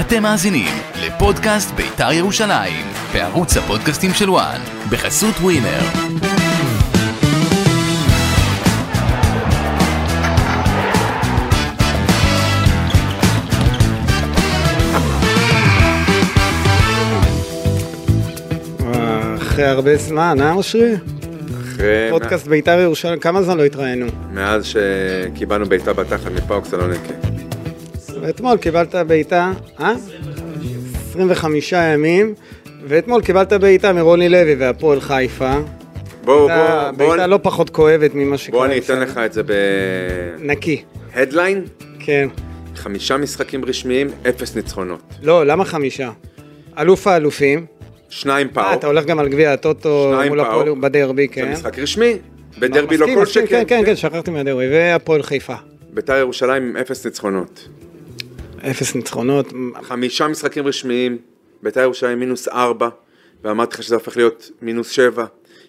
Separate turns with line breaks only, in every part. אתם מאזינים לפודקאסט בית"ר ירושלים, בערוץ הפודקאסטים של וואן, בחסות ווינר.
אה, אחרי הרבה זמן, אה אושרי?
כן, אחרי...
פודקאסט בית"ר ירושלים, כמה זמן לא התראינו?
מאז שקיבלנו בעיטה בתחת מפאוק לא סלוניקי.
אתמול קיבלת בעיטה, אה? 25 ימים, ואתמול קיבלת בעיטה מרוני לוי והפועל חיפה.
בואו,
הייתה
בואו, בואו,
בעיטה לא פחות כואבת ממה שקרה.
בואו אני אתן
עכשיו.
לך את זה
נקי,
בהדליין,
כן.
חמישה משחקים רשמיים, אפס ניצחונות.
לא, למה חמישה? אלוף האלופים.
שניים
אה, אתה
פאוק,
הולך גם על גביע הטוטו
שניים
מול
פאוק.
הפועל בדרבי,
זה
כן.
משחק רשמי, בדרבי לא
מסכים,
כל
מסכים,
שכן.
כן, כן, כן, שכחתי מהדרבי. והפועל חיפה.
בית"ר ירושלים עם אפס ניצחונות.
אפס ניצחונות.
חמישה משחקים רשמיים, בית"ר ירושלים מינוס ארבע, ואמרתי לך שזה הופך להיות מינוס שבע,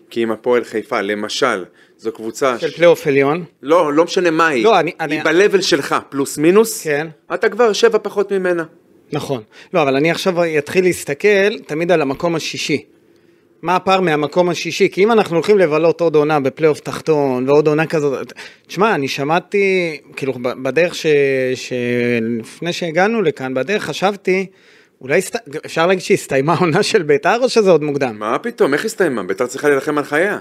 כי אם הפועל חיפה, למשל, זו קבוצה...
של פלייאוף עליון.
לא, לא משנה מה היא.
לא, אני- אני-
היא ב-level שלך, פלוס מינוס.
כן.
אתה כבר שבע פחות ממנה.
נכון. לא, אבל אני עכשיו אתחיל להסתכל תמיד על המקום השישי. מה הפער מהמקום השישי? כי אם אנחנו הולכים לבלות עוד עונה בפלייאוף תחתון ועוד עונה כזאת... תשמע, אני שמעתי, כאילו, ב- בדרך ש... שלפני שהגענו לכאן, בדרך חשבתי, אולי הסת... אפשר להגיד שהסתיימה העונה של בית"ר או שזה עוד מוקדם?
מה פתאום, איך הסתיימה? ביתר צריכה להילחם על חייה.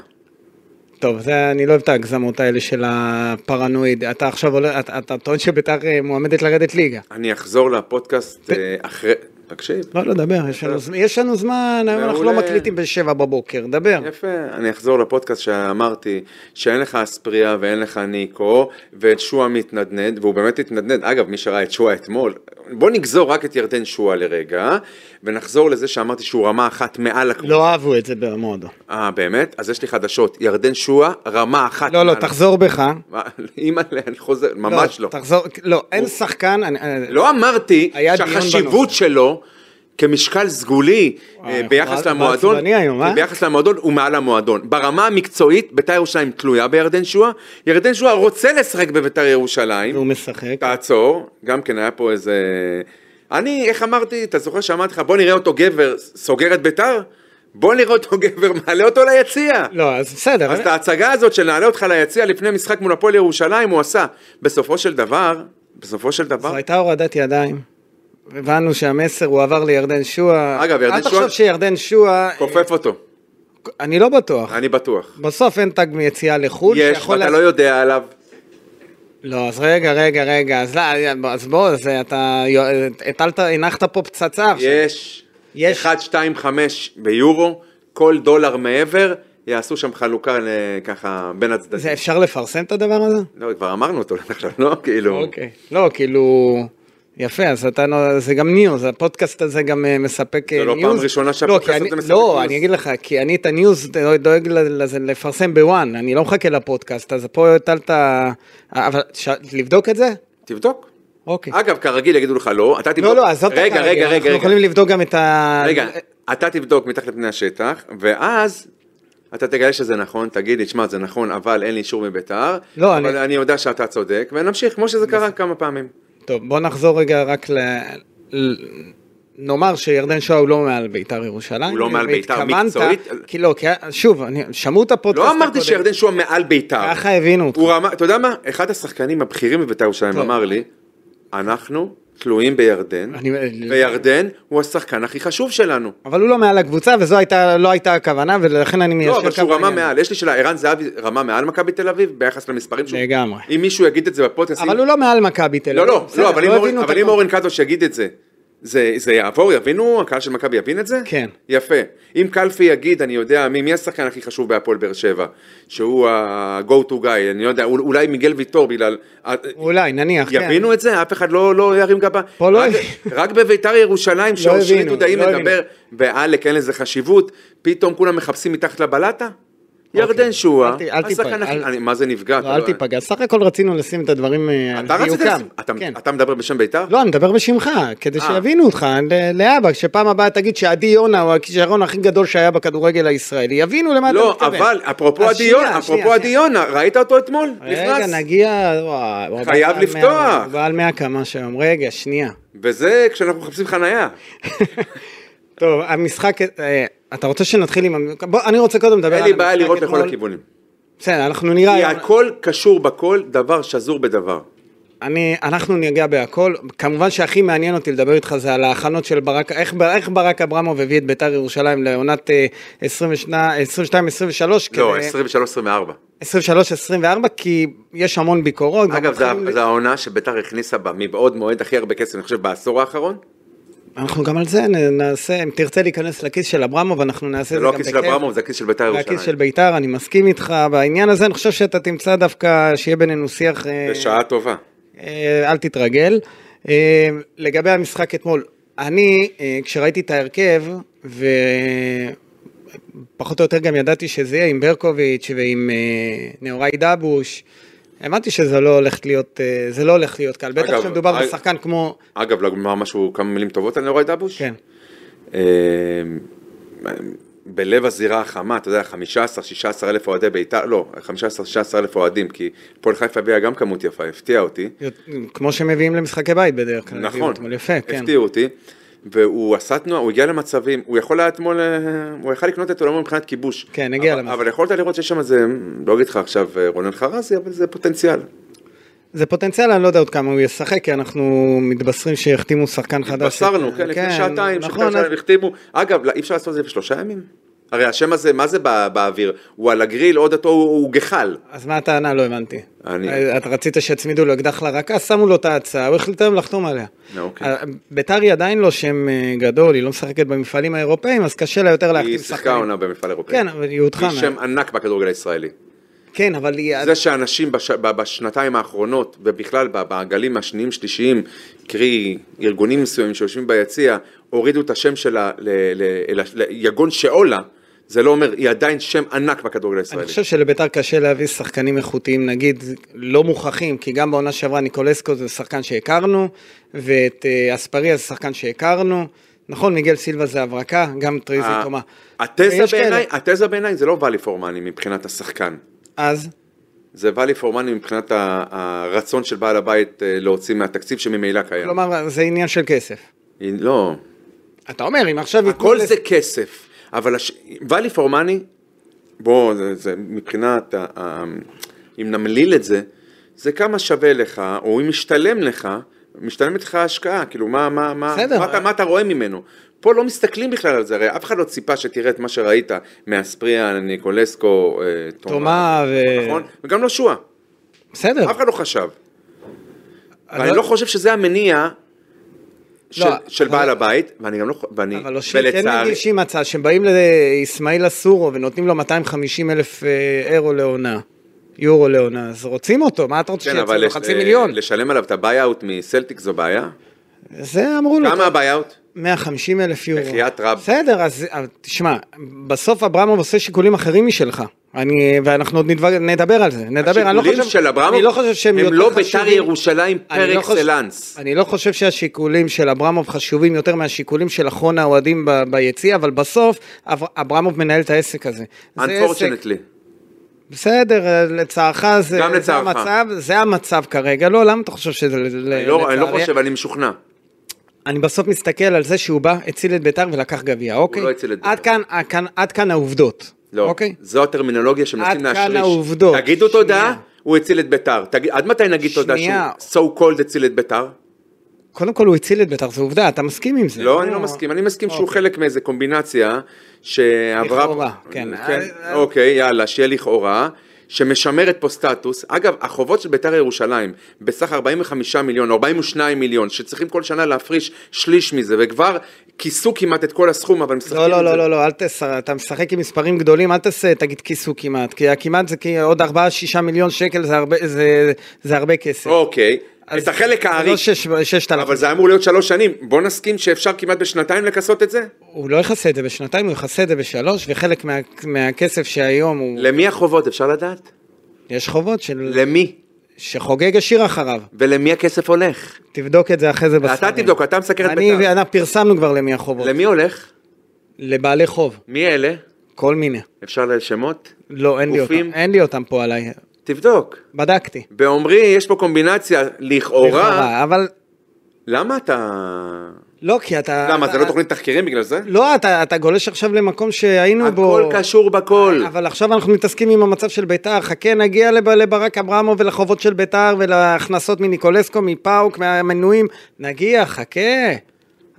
טוב, זה, אני לא אוהב את ההגזמות האלה של הפרנואיד. אתה עכשיו עולה, אתה, אתה טוען שבית"ר אה, מועמדת לרדת ליגה.
אני אחזור לפודקאסט אה, אחרי... תקשיב.
לא, לא, דבר, יש לנו, זמן- יש לנו זמן, היום אנחנו לא
מעולה.
מקליטים בשבע בבוקר, דבר.
יפה, אני אחזור לפודקאסט שאמרתי שאין לך אספריה ואין לך ניקו ואת שועה מתנדנד והוא באמת התנדנד, אגב מי שראה את שועה אתמול, בוא נגזור רק את ירדן שועה לרגע ונחזור לזה שאמרתי שהוא רמה אחת מעל הקבוצה,
לא אהבו את זה במודו.
אה באמת? אז יש לי חדשות, ירדן שועה רמה אחת
לא, לא,
מעל
תחזור בך.
מה, אימא'לה, אני חוזר, ממש לא.
תחזור, לא, אין שחקן, אני- אה, אני-
לא אמרתי
היה דיון בנושא.
שהחשיבות שלו כמשקל סגולי אה,
אנחנו
ביחס
על-
למועדון,
בעצבני היום, אה?
ביחס למועדון הוא מעל המועדון. ברמה המקצועית בית"ר ירושלים תלויה בירדן שועה, ירדן שועה רוצה לשחק בבית"ר ירושלים,
והוא משחק.
תעצור, גם כן היה פה איזה... אני, איך אמרתי, אתה זוכר שאמרתי לך בוא נראה אותו גבר סוגר את בית"ר? בוא נראה אותו גבר מעלה אותו ליציע.
לא, אז בסדר.
אז את ההצגה הזאת של נעלה אותך ליציע לפני משחק מול הפועל ירושלים הוא עשה. בסופו של דבר, בסופו של
זו
דבר,
הייתה הורדת ידיים. הבנו שהמסר הוא עבר לירדן שועה.
אגב, ירדן
אל
שועה-
תחשוב שירדן שועה,
כופף אותו,
אני לא בטוח.
אני בטוח.
בסוף אין תג מיציאה לחו"ל.
יש,
שיכול
ואתה
לה-
לא יודע עליו. לא.
לא, אז רגע, רגע, רגע, אז לא, אז בוא, אז אתה אה, הטלת, הנחת פה פצצה עכשיו.
יש.
יש.
1, 2, 5 ביורו, כל דולר מעבר, יעשו שם חלוקה ל- ככה בין הצדדים.
זה אפשר לפרסם את הדבר הזה?
לא, כבר אמרנו אותו עכשיו, לא? כאילו...
אוקיי. לא, כאילו... יפה, אז אתה, נו- זה גם ניוז, הפודקאסט הזה גם אה, מספק
זה
אה,
לא
ניוז.
פעם ראשונה שהפודקאסט
לא, כי
הזה
אני-
מספק
לא,
ניוז.
אני אגיד לך, כי אני את הניוז דואג- דואג ל- לזה- לפרסם בוואן, אני לא מחכה לפודקאסט, אז פה הטלת... אבל ש- לבדוק את זה?
תבדוק.
אוקיי.
אגב, כרגיל יגידו לך לא, אתה תבדוק.
לא, לא, עזוב את
רגע,
הכרגע,
רגע, רגע,
אנחנו
רגע.
יכולים לבדוק גם את ה...
רגע, אתה תבדוק מתחת לפני השטח, ואז אתה תגלה שזה נכון, תגיד לי, שמע, זה נכון, אבל אין לי אישור מביתר,
לא,
אבל
אני-
אני יודע שאתה צודק, ונמשיך, כמו שזה קרה כמה פעמים.
טוב, בוא נחזור רגע רק ל... ל- נאמר שירדן שואה הוא לא מעל בית"ר ירושלים. אה,
הוא לא מעל בית"ר
והתכוונת-
מקצועית.
כי לא, כי שוב, אני- שמעו את הפודקאסט
לא
הקודם.
אמרתי שירדן שועה מעל ביתר.
ככה הבינו אותך.
אה, הוא אמר, אתה יודע מה? אחד השחקנים הבכירים בביתר ירושלים
טוב.
אמר לי, אנחנו תלויים בירדן,
אני-
וירדן הוא השחקן הכי חשוב שלנו.
אבל הוא לא מעל הקבוצה, וזו הייתה, לא הייתה הכוונה, ולכן אני מיישר
לא, אבל שהוא
קו
רמה
בעניין.
מעל, יש לי שאלה, ערן זהבי רמה מעל מכבי תל אביב ביחס למספרים שהוא...
לגמרי.
אם מישהו יגיד את זה בפודקאסט,
אבל הוא לא מעל מכבי תל
לא,
אביב.
לא,
בסדר,
לא, אבל אם אורן-
הבינו את
אבל אם
הכל.
אורן קדוש יגיד את זה, זה זה יעבור, יבינו, הקהל של מכבי יבין את זה?
כן.
יפה. אם קלפי יגיד, אני יודע, מי מי השחקן הכי חשוב בהפועל באר שבע, שהוא ה-go to guy, אני לא יודע, אול- אולי מיגל ויטור בגלל... אה,
אולי, נניח, כן.
יבינו את זה? אף אחד לא לא ירים גבה.
פה לא
רק-
הבינו. לא
רק בביתר ירושלים, שאושרי
הבינו,
דודאי
לא הבינו.
מדבר, ועלק אין לזה חשיבות, פתאום כולם מחפשים מתחת לבלטה? ירדן שואה,
אוקיי. אל ת- אל
השחקן
תיפגע,
הכי-
אל-
אני- מה זה נפגע?
לא, אל תיפגע. סך הכל רצינו לשים את הדברים אה, על
אתה רצית
דיוקם.
לשים- אתה-
כן.
אתה מדבר בשם בית"ר?
לא, אני מדבר בשמך, כדי
אה.
שיבינו אותך, ל- להבא, כשפעם הבאה תגיד שעדי יונה הוא הכישרון הכי גדול שהיה בכדורגל הישראלי, יבינו למה
לא,
אתה מתכוון.
אבל אפרופו
אז
עדי
שנייה,
יונה,
שנייה,
אפרופו עדי
שנייה.
יונה, ראית אותו אתמול?
רגע,
נכנס.
נגיע, וואי, הוא
חייב
בעל מאה-
לפתוח.
הוא בעל 100 קמ"ש היום, רגע, שנייה.
וזה כשאנחנו מחפשים חנייה.
טוב, המשחק, אה, אתה רוצה שנתחיל עם... המ- בוא, אני רוצה קודם לדבר על
אין לי
המשחק
בעיה לראות לכל
אתמול. אה,
הכיוונים.
בסדר, אנחנו נראה...
כי
היום-
הכל קשור בכל, דבר שזור בדבר.
אני, אנחנו ניגע בהכל, כמובן שהכי מעניין אותי לדבר איתך זה על ההכנות של ברק, איך, בר- איך ברק אברמוב הביא את ביתר ירושלים לעונת אה, 22-23, כן, אה.
לא, 23-24.
23-24, כי יש המון ביקורות. גם
אגב,
מתחילים-
זו העונה שביתר הכניסה בה מבעוד מועד הכי הרבה כסף, אני חושב, בעשור האחרון.
אנחנו גם על זה נ- נעשה, אם תרצה להיכנס לכיס של אברמוב, אנחנו נעשה
זה
את זה
לא
גם
הכיס של אברמוב, זה הכיס של ביתר
זה הכיס של
ירושלים.
ביתר, אני מסכים איתך בעניין הזה, אני חושב שאתה תמצא דווקא, שיהיה בינינו שיח... אה,
בשעה טובה.
אה, אל תתרגל. אה, לגבי המשחק אתמול, אני, אה, כשראיתי את ההרכב, ופחות או יותר גם ידעתי שזה יהיה עם ברקוביץ' ועם אה, נאורי דבוש, האמנתי שזה לא הולך להיות, אה, זה לא הולך להיות קל, בטח
אגב, אה,
כשמדובר
אג-
בשחקן כמו...
אגב, לומר משהו, כמה מילים טובות לא על נוראי דבוש?
כן.
אמ, בלב הזירה החמה, אתה יודע, 15-16 אלף אוהדי בית"ר, לא, 15-16 אלף אוהדים, כי הפועל חיפה הביאה גם כמות יפה, הפתיע אותי.
כמו שמביאים למשחקי בית בדרך כלל. הביאו
נכון,
אתמול, יפה, כן.
הפתיעו אותי. והוא עשה תנועה, הוא הגיע למצבים, הוא יכול היה אתמול, אה, הוא יכול לקנות את עולמו מבחינת כיבוש.
כן, הגיע
אבל-
למצב.
אבל יכולת לראות שיש שם איזה, לא אגיד לך עכשיו אה, רונן חרזי, אבל זה פוטנציאל.
זה פוטנציאל, אני לא יודע עוד כמה הוא ישחק, כי אנחנו מתבשרים שיחתימו שחקן חדש.
התבשרנו, כן, לפני שעתיים,
נכון,
נכון, שעתיים החתימו. אגב, לא, אי אפשר לעשות את זה בשלושה ימים? הרי השם הזה, מה זה בא- באוויר? הוא על הגריל, עוד אותו הוא הוא גחל.
אז מה הטענה? לא הבנתי.
אני-
את רצית שיצמידו לו אקדח לרקה, שמו לו את ההצעה, הוא החליט היום לחתום עליה.
אוקיי.
אה, ביתר היא עדיין לא שם אה, גדול, היא לא משחקת במפעלים האירופאים, אז קשה לה יותר להחתים
היא שיחקה
שחקנים.
עונה במפעל אירופאי.
כן, אבל היא הודחה.
היא
מה-
שם ענק בכדורגל הישראלי.
כן, אבל היא...
זה שאנשים בש... ב- בשנתיים האחרונות, ובכלל ב- בעגלים השניים שלישיים, קרי ארגונים מסוימים שיושבים ביציע, הורידו את השם שלה ל... ל... ל... ליגון שאולה, זה לא אומר, היא עדיין שם ענק בכדורגל
אני
הישראלי.
חושב שלביתר קשה להביא שחקנים איכותיים, נגיד, לא מוכחים, כי גם בעונה שעברה ניקולסקו זה שחקן שהכרנו, ואת אה, אספריה זה שחקן שהכרנו. נכון, מיגל סילבה זה הברקה, גם טריזי
ה-
קומה.
התזה
ויש כאלה.
אה, בעיניי, התזה בעיניי זה לא value for money מבחינת השחקן.
אז?
זה value for money מבחינת ה- הרצון של בעל הבית אה, להוציא מהתקציב שממילא קיים.
כלומר, זה עניין של כסף.
היא- לא,
אתה אומר, אם עכשיו... ייתנו
הכל
לס-
זה כסף, אבל הש... value for money, בוא, זה, זה מבחינת, ה... ה... אם נמליל את זה, זה כמה שווה לך, או אם משתלם לך, משתלמת לך ההשקעה, כאילו מה, מה, מה,
בסדר.
מה, אתה, מה אתה רואה ממנו? פה לא מסתכלים בכלל על זה, הרי אף אחד לא ציפה שתראה את מה שראית מאספריה, ניקולסקו, אה,
תומה ו...
נכון? וגם לא שועה,
בסדר.
אף אחד לא חשב.
אבל-
ואני לא חושב שזה המניע של-
לא,
של
אבל-
בעל הבית, ואני גם לא, ח- ואני,
אבל אושרי, כן
ולצערי,
מגישים הצעה, שבאים לאסמאעיל אסורו ונותנים לו 250 אלף אה, אירו לעונה, יורו לעונה, אז רוצים אותו, מה אתה רוצה
כן,
שיצאו
אבל
לו?
לש-
חצי מיליון.
לשלם עליו את הביי-אוט מסלטיק זו בעיה?
זה אמרו לו.
כמה הביי-אוט?
150 אלף יורו.
בחייאת רב.
בסדר, אז אבל תשמע, בסוף אברמוב עושה שיקולים אחרים משלך. אני, ואנחנו עוד נדבר, נדבר על זה, נדבר, אני לא חושב,
השיקולים של אברמוב
אני לא חושב שהם
הם
יותר
לא בית"ר
חשובים.
ירושלים
אני
פר
לא חושב-
אקסלנס.
אני לא חושב שהשיקולים של אברמוב חשובים יותר מהשיקולים של אחרון האוהדים ב- ביציע, אבל בסוף אב- אברמוב מנהל את העסק הזה. זה עסק,
Unfortunately.
בסדר, אה, לצערך זה,
גם
זה
לצערך.
המצב, זה המצב כרגע. לא, למה אתה חושב שזה ל-
אני לא- אני לא
לצערי?
חושב, אני משוכנע.
אני בסוף מסתכל על זה שהוא בא, הציל את ביתר ולקח גביע, אוקיי?
לא הציל את
עד
בית"ר.
כאן, עד כאן, עד כאן העובדות,
לא,
אוקיי?
זו הטרמינולוגיה שמנסים
עד
להשריש.
כאן העובדות.
תגידו
שנייה.
תודה, הוא הציל את בית"ר. תגיד- עד מתי נגיד תודה
שנייה.
שהוא so called הציל את בית"ר?
קודם כל הוא הציל את ביתר, זו עובדה, אתה מסכים עם זה?
לא, אני לא מסכים, אני מסכים שהוא
אוקיי.
חלק מאיזה קומבינציה שעברה...
לכאורה, כן. אה,
אוקיי, יאללה, שיהיה לכאורה, שמשמרת פה סטטוס. אגב, החובות של בית"ר ירושלים, בסך 45 מיליון, 42 מיליון, שצריכים כל שנה להפריש שליש מזה, וכבר כיסו כמעט את כל הסכום, אבל משחקים
לא,
את
לא,
זה.
לא, לא, לא, אל תס... אתה משחק עם מספרים גדולים, אל תעשה, תגיד כיסו כמעט, כי הכמעט זה כי עוד 4-6 מיליון שקל זה הרבה, זה, זה הרבה כסף.
אוקיי,
אז
את החלק הארי.
לא שש- ששת אלפים.
אבל זה אמור להיות שלוש שנים, בוא נסכים שאפשר כמעט בשנתיים לכסות את זה?
הוא לא יכסה את זה בשנתיים, הוא יכסה את זה בשלוש, וחלק מה, מהכסף שהיום הוא...
למי החובות, אפשר לדעת?
יש חובות של...
למי?
שחוגג השיר אחריו.
ולמי הכסף הולך?
תבדוק את זה אחרי זה בסרטים.
אתה תבדוק, אתה מסקר את
אני
בית"ר.
ואנחנו פרסמנו כבר למי החובות.
למי הולך?
לבעלי חוב,
מי אלה?
כל מיני.
אפשר לשמות?
לא, אין לי
גופים?
אותם. אין לי אותם פה עליי.
תבדוק.
בדקתי.
בעומרי יש פה קומבינציה, לכאורה,
לכאורה, אבל
למה אתה...
לא, כי אתה...
למה, זה
אתה-
לא תוכנית תחקירים בגלל זה?
לא, אתה, אתה גולש עכשיו למקום שהיינו בו.
הכל קשור בכל.
אבל עכשיו אנחנו מתעסקים עם המצב של ביתר, חכה נגיע לב- לברק אברמוב ולחובות של ביתר ולהכנסות מניקולסקו, מפאוק, מהמנויים, נגיע, חכה.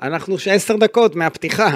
אנחנו ש- עשר דקות מהפתיחה,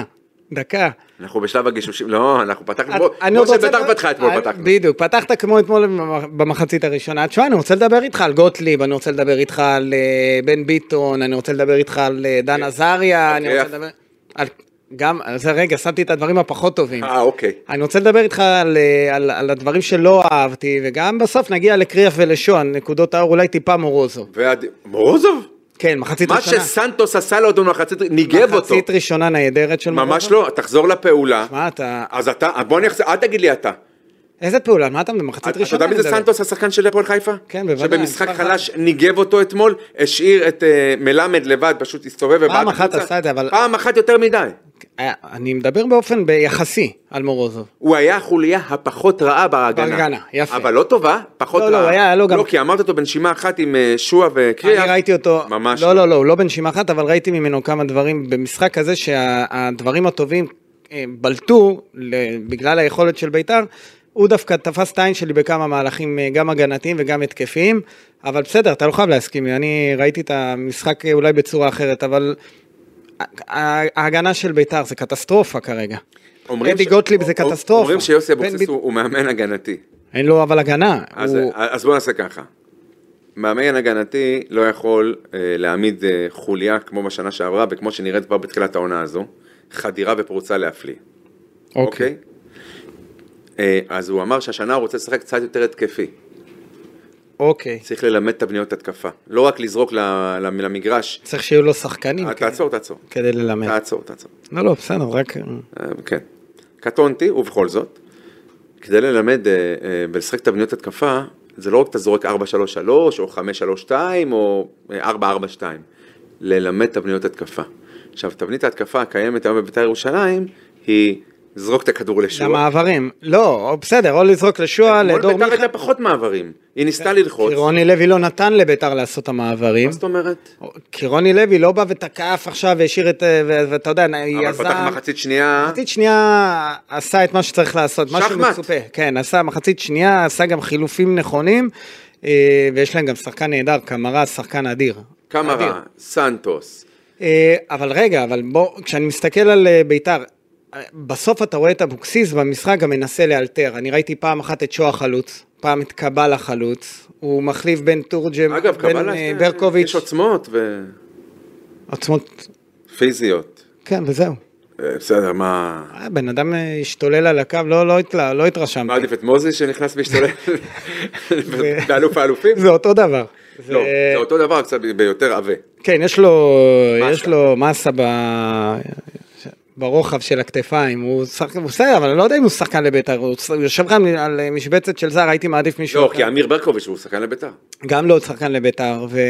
דקה.
אנחנו בשלב הגישושים, לא, אנחנו פתחנו,
את-
בוא,
אני
כמו
עוד רוצה
שביתר
לדבר-
פתחה אתמול
אני-
פתחנו.
בדיוק, פתחת כמו אתמול במ- במחצית הראשונה. תשמע, אני רוצה לדבר איתך על גוטליב, אני רוצה לדבר איתך על אה, בן ביטון, אני רוצה לדבר איתך על אה, דן עזריה, אני רוצה
קריאף.
לדבר... על- גם, אז רגע, שמתי את הדברים הפחות טובים.
אה, אוקיי.
אני רוצה לדבר איתך על, אה, על, על הדברים שלא אהבתי, וגם בסוף נגיע לקריאף ולשון, נקודות האור אולי טיפה מורוזוב.
ועד... מורוזוב?
כן, מחצית
מה
ראשונה.
שסנטוס עשה לו אדון מחצית, ניגב אותו.
מחצית ראשונה נהדרת של מורוזוב.
ממש לא, תחזור לפעולה.
מה אתה...
אז אתה, בוא אני אחזור, אל תגיד לי אתה.
איזה פעולה? על מה אתה מדבר? מחצית
אתה אתה
ראשונה
יודע מי זה
אני מדבר.
סנטוס, השחקן של הפועל חיפה?
כן, בוודאי,
שבמשחק
מספר
חלש ניגב אותו אתמול, השאיר את אה, מלמד לבד, פשוט הסתובב ובעט
פעם אחת
החוצה.
עשה את זה, אבל-
פעם אחת יותר מדי.
אה, אני מדבר באופן יחסי על מורוזוב.
הוא היה החוליה הפחות רעה בהגנה.
בהגנה, יפה.
אבל לא טובה, פחות
לא,
רעה.
לא, היה- היה לו גם-
לא, כי אמרת אותו בנשימה אחת עם אה, שועה וקריאה.
אני ראיתי אותו,
ממש.
לא, לא, לא, הוא לא בנשימה אחת, אבל ראיתי ממנו כמה דברים במשחק הזה שהדברים הטובים אה, בלטו ל- בגלל היכולת של בית"ר. הוא דווקא תפס את העין שלי בכמה מהלכים, אה, גם הגנתיים וגם התקפיים, אבל בסדר, אתה לא חייב להסכים לי, אני ראיתי את המשחק אה, אולי בצורה אחרת, אבל ה- ה- ההגנה של בית"ר זה קטסטרופה כרגע.
אומרים
אדי
ש-
גוטליב זה
אומרים
קטסטרופה.
אומרים שיוסי
בן
אבוקסיס
ביט-
הוא הוא מאמן הגנתי.
אין לו אבל הגנה.
אז, אה,
הוא-
אז בוא נעשה ככה. מאמן הגנתי לא יכול אה, להעמיד אה, חוליה כמו בשנה שעברה וכמו שנראית כבר בתחילת העונה הזו, חדירה ופרוצה להפליא,
אוקיי.
אה, אז הוא אמר שהשנה הוא רוצה לשחק קצת יותר התקפי.
אוקיי.
צריך ללמד את הבניות התקפה. לא רק לזרוק ל- ל- למגרש.
צריך שיהיו לו שחקנים
אה,
כדי-
תעצור, תעצור.
כדי ללמד.
תעצור, תעצור.
לא, לא, בסדר, רק...
אה, כן. קטונתי, ובכל זאת, כדי ללמד אה, אה, ולשחק תבניות התקפה, זה לא רק אתה זורק 433 או 532 או אה, 442, ללמד תבניות התקפה. עכשיו, תבנית ההתקפה הקיימת היום בבית"ר ירושלים היא זרוק את הכדור לשועה.
למעברים. לא, בסדר, או לזרוק לשועה,
מול
לדור
בית"ר
מיכה. אה,
הייתה פחות מעברים, היא ניסתה ללחוץ.
כי רוני לוי לא נתן לביתר לעשות את המעברים.
מה זאת אומרת?
כי רוני לוי לא בא ותקף עכשיו והשאיר את... אה, ו- ואתה יודע,
אבל פתח
יזם...
מחצית שנייה,
מחצית שנייה עשה את מה שצריך לעשות, מה
שחמט.
שמצופה. כן, עשה מחצית שנייה, עשה גם חילופים נכונים, אה, ויש להם גם שחקן נהדר, קמרה, שחקן אדיר.
קמרה, סנטוס.
אה, אבל רגע, אבל בוא, כשאני מסתכל על אה, ביתר, אה, בסוף אתה רואה את אבוקסיס במשחק גם מנסה לאלתר. אני ראיתי פעם אחת את שואה חלוץ, פעם את קבל החלוץ, הוא מחליף בין תורג'ם,
אגב,
בין
קבלה,
אה,
אה,
ברקוביץ',
יש עוצמות
עוצמות,
ופיזיות.
כן, וזהו.
אה, בסדר, מה...
אה, בן אדם אה, השתולל על הקו, לא, לא, התלה, לא התרשמתי.
מה עדיף את מוזי שנכנס והשתולל
זה-
באלוף האלופים?
זה אותו דבר.
לא,
זה-
זה אותו דבר קצת ביותר עבה.
כן, יש לו,
מסה.
יש לו מסה ב... ברוחב של הכתפיים, הוא שחקן, הוא בסדר, אבל אני לא יודע אם הוא שחקן לבית"ר, הוא ש- הוא יושב כאן על אה, משבצת של זר, הייתי מעדיף מישהו
לא,
אחר.
כי אמיר ברקוביץ' הוא שחקן לביתר.
גם לא עוד שחקן לבית"ר, ו...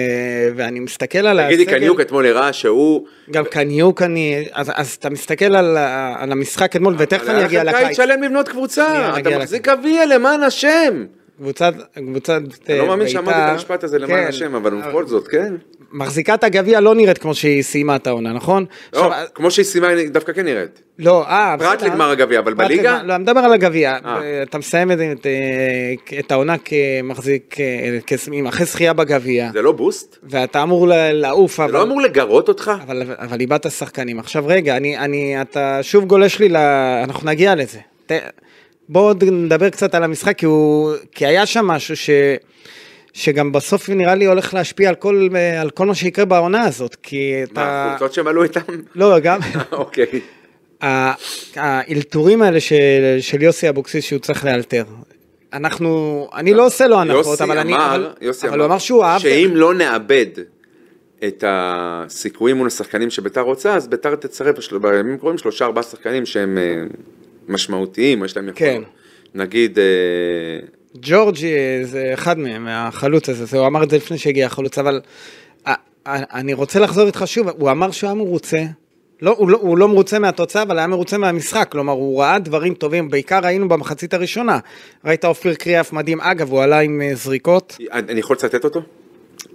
ואני מסתכל על
תגידי, קניוק אתמול הראה שהוא...
גם קניוק אני, אז, אז אתה מסתכל על, ה- על המשחק אתמול, ותכף אני אגיע
היה לכם קיץ
לקיץ,
שלם לבנות
שנייה,
קבוצה, אתה
נגיע
מחזיק אביה למען השם.
קבוצת, קבוצת
אני
אה,
לא מאמין שאמרתי את
בית"ר-
המשפט הזה למען
כן.
השם, אבל בכל זאת, כן.
מחזיקת הגביע לא נראית כמו שהיא סיימה את העונה, נכון?
לא,
עכשיו,
כמו שהיא סיימה, היא דווקא כן נראית.
לא, אה,
פרט
בסדר.
לגמר הגביע, אבל
פרט
בליגה?
לגמר- לא, אני מדבר על הגביע.
אה.
אתה מסיים את- את, אה, את העונה כמחזיק, אה, כס- עם אחרי זכייה בגביע,
זה לא בוסט?
ואתה אמור ל- לעוף,
זה לא
אבל...
אמור לגרות אותך?
אבל, אבל איבדת שחקנים. עכשיו רגע, אני, אני, אתה שוב גולש לי ל... אנחנו נגיע לזה. ת... בואו עוד נדבר קצת על המשחק, כי, הוא... כי היה שם משהו ש... שגם בסוף נראה לי הולך להשפיע על כל, על כל מה שיקרה בעונה הזאת, כי
מה,
אתה...
החולצות שהם עלו איתם?
לא, גם...
אוקיי.
ה- האלתורים האלה של, של יוסי אבוקסיס שהוא צריך לאלתר. אנחנו, אני לא עושה לו הנחות,
יוסי
אבל אני,
אמר-
אבל
יוסי
אבל הוא אמר שהוא אהב,
שאם לא נאבד את הסיכויים מול השחקנים שביתר רוצה, אז ביתר תצרף בשל- בימים הקרובים שלושה ארבעה שחקנים שהם אה, משמעותיים, יש להם יכולת.
כן.
נגיד, אה,
ג'ורג'י אה, זה אחד מהם, החלוץ הזה, זה- הוא אמר את זה לפני שהגיע החלוץ, אבל אה, אה, אני רוצה לחזור איתך שוב, הוא אמר שהוא היה מרוצה. לא, הוא, לא, הוא לא מרוצה מהתוצאה, אבל היה מרוצה מהמשחק, כלומר, הוא ראה דברים טובים, בעיקר ראינו במחצית הראשונה. ראית אופיר קריאף מדהים, אגב, הוא עלה עם אה, זריקות.
אני אני יכול לצטט אותו?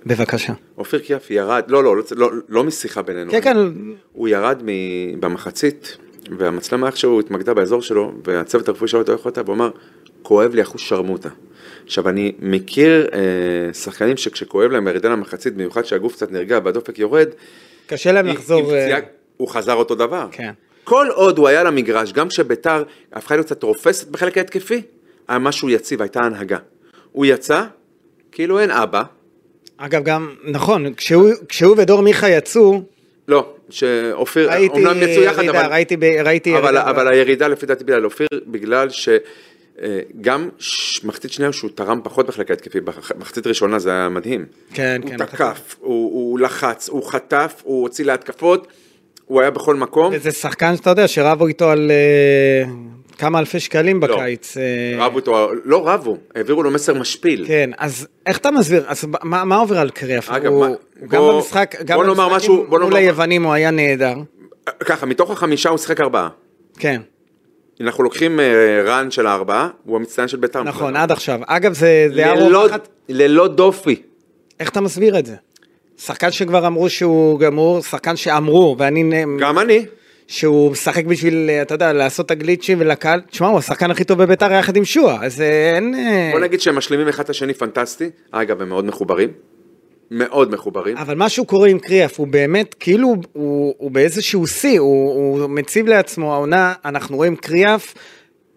בבקשה.
אופיר קיאף ירד, לא, לא, לא, לא, לא משיחה בינינו.
כן, כן,
הוא ירד מ... במחצית, והמצלמה איכשהו התמקדה באזור שלו, והצוות הרפואי שלו אותו איך אותה, והוא אמר, כואב לי אחוז שרמוטה. עכשיו, אני מכיר אה, שחקנים שכשכואב להם ירידה למחצית, במיוחד שהגוף קצת נרגע והדופק יורד,
קשה להם
עם- עם
לחזור... אה,
פציעה, הוא חזר אותו דבר.
כן.
כל עוד הוא היה על המגרש, גם כשביתר הפכה להיות קצת רופסת בחלק ההתקפי, היה משהו יציב, הייתה הנהגה. הוא יצא, כאילו אין אבא,
אגב, גם, נכון, כשהוא, כשהוא ודור מיכה יצאו,
לא, שאופיר,
ראיתי
אומנם יצאו יחד,
ירידה,
אבל...
ראיתי, ב- ראיתי
אבל,
ירידה.
אבל הירידה לפי דעתי בגלל אופיר, בגלל שגם מחצית שנייה שהוא תרם פחות בחלק ההתקפי, בח- מחצית ראשונה זה היה מדהים.
כן,
הוא
כן.
תקף, הוא, הוא לחץ, הוא חטף, הוא הוציא להתקפות, הוא היה בכל מקום.
וזה שחקן שאתה יודע שרבו איתו על אה, כמה אלפי שקלים
לא.
בקיץ. אה,
רבו אותו, לא רבו, העבירו לו מסר משפיל.
כן, אז איך אתה מסביר? אז ב- מה מה עובר על קריאף?
אגב,
הוא-
מה-
הוא גם
בוא-
במשחק, גם
בוא נאמר
במשחקים
משהו- בוא
מול
נאמר-
היוונים הוא היה נהדר.
אה, ככה, מתוך החמישה הוא שיחק ארבעה.
כן,
אנחנו לוקחים אה, רן של הארבעה, הוא המצטיין של בית"ר.
נכון, עד עכשיו. אגב, זה זה היה
לא. ללא-
רווחת...
ללא דופי.
איך אתה מסביר את זה? שחקן שכבר אמרו שהוא גמור, שחקן שאמרו, ואני... נ-
גם אני.
שהוא משחק בשביל, אה, אתה יודע, לעשות את הגליצ'ים ולקהל. תשמע, הוא השחקן הכי טוב בביתר יחד עם שועה, אז אה, אין... אה,
בוא נגיד שהם משלימים אחד את השני פנטסטי, אגב הם מאוד מחוברים, מאוד מחוברים,
אבל משהו קורה עם קריאף, הוא באמת, כאילו, הוא, הוא, הוא באיזשהו שיא, הוא, הוא מציב לעצמו, העונה, אנחנו רואים קריאף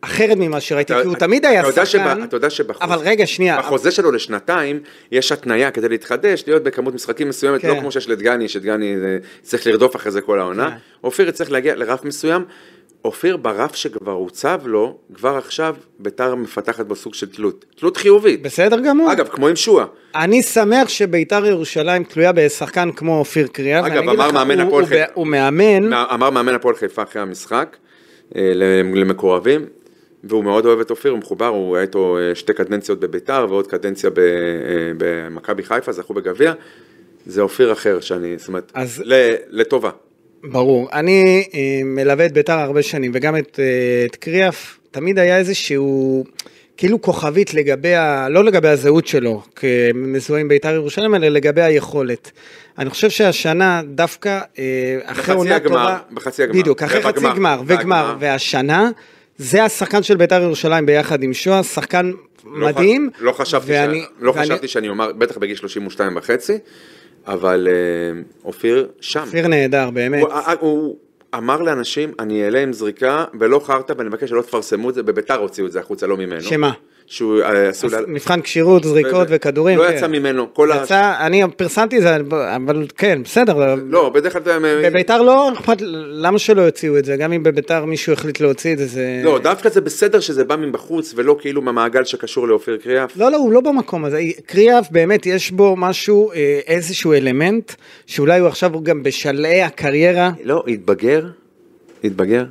אחרת ממה שראיתי,
אתה-
כי הוא
אתה-
תמיד היה
אתה יודע
שחקן,
שב- אתה יודע שבחוז-
אבל רגע, שנייה,
בחוזה שלו לשנתיים יש התניה כדי להתחדש, להיות בכמות משחקים מסוימת,
כן.
לא כמו שיש לדגני, שדגני אה, צריך לרדוף אחרי זה כל העונה, אופיר צריך להגיע לרף מסוים, אופיר ברף שכבר הוצב לו, כבר עכשיו ביתר מפתחת בו סוג של תלות, תלות חיובית,
בסדר גמור.
אגב כמו עם שועה,
אני שמח שביתר ירושלים תלויה בשחקן כמו אופיר קריאף.
אגב,
ואני אגיד
אמר
לך,
מאמן
הוא-
הפועל
הוא-
חיפה.
הוא מאמן,
מה- אמר מאמן הפועל חיפה אחרי המשחק אה, למקורבים, והוא מאוד אוהב את אופיר, הוא מחובר, הוא היה איתו אה, שתי קדנציות בביתר ועוד קדנציה ב- אה, במכבי חיפה, זכו בגביע. זה אופיר אחר שאני, זאת אומרת,
אז-
ל- לטובה.
ברור. אני אה, מלווה את ביתר הרבה שנים, וגם את, אה, את קריאף, תמיד היה איזשהו, כאילו כוכבית לגבי, ה, לא לגבי הזהות שלו, כמזוהה עם ביתר ירושלים, אלא לגבי היכולת. אני חושב שהשנה, דווקא אה,
בחצי
אחרי עונה
הגמר,
טובה,
בחצי הגמר,
בדיוק, אחרי חצי
ובגמר,
גמר, וגמר,
והגמר.
והשנה, זה השחקן של ביתר ירושלים ביחד עם שואה, שחקן
לא ח-
מדהים.
לא חשבתי
ואני-
ש- לא
ואני-
חשבתי שאני אומר, בטח בגיל 32 וחצי, אבל אה, אופיר שם.
אופיר נהדר, באמת.
הוא- אה, הוא אמר לאנשים, אני אעלה עם זריקה ולא חרטא ואני מבקש שלא תפרסמו את זה, בביתר הוציאו את זה החוצה, לא ממנו.
שמה?
שהוא אה, עשו...
אז
לה-
מבחן כשירות, זריקות
ו-
וכדורים.
לא
כן.
יצא ממנו, כל ה...
יצא, אני פרסמתי את זה, אבל כן, בסדר.
לא, בדרך כלל... הם-
בביתר לא אכפת, למה שלא יוציאו את זה? גם אם בביתר מישהו החליט להוציא את זה, זה...
לא, דווקא זה בסדר שזה בא מבחוץ ולא כאילו מהמעגל שקשור לאופיר קריאף.
לא, לא, הוא לא במקום הזה. קריאף באמת יש בו משהו, אה, איזשהו אלמנט, שאולי הוא עכשיו גם בשלהי הקריירה,
לא, התבגר, התבגר.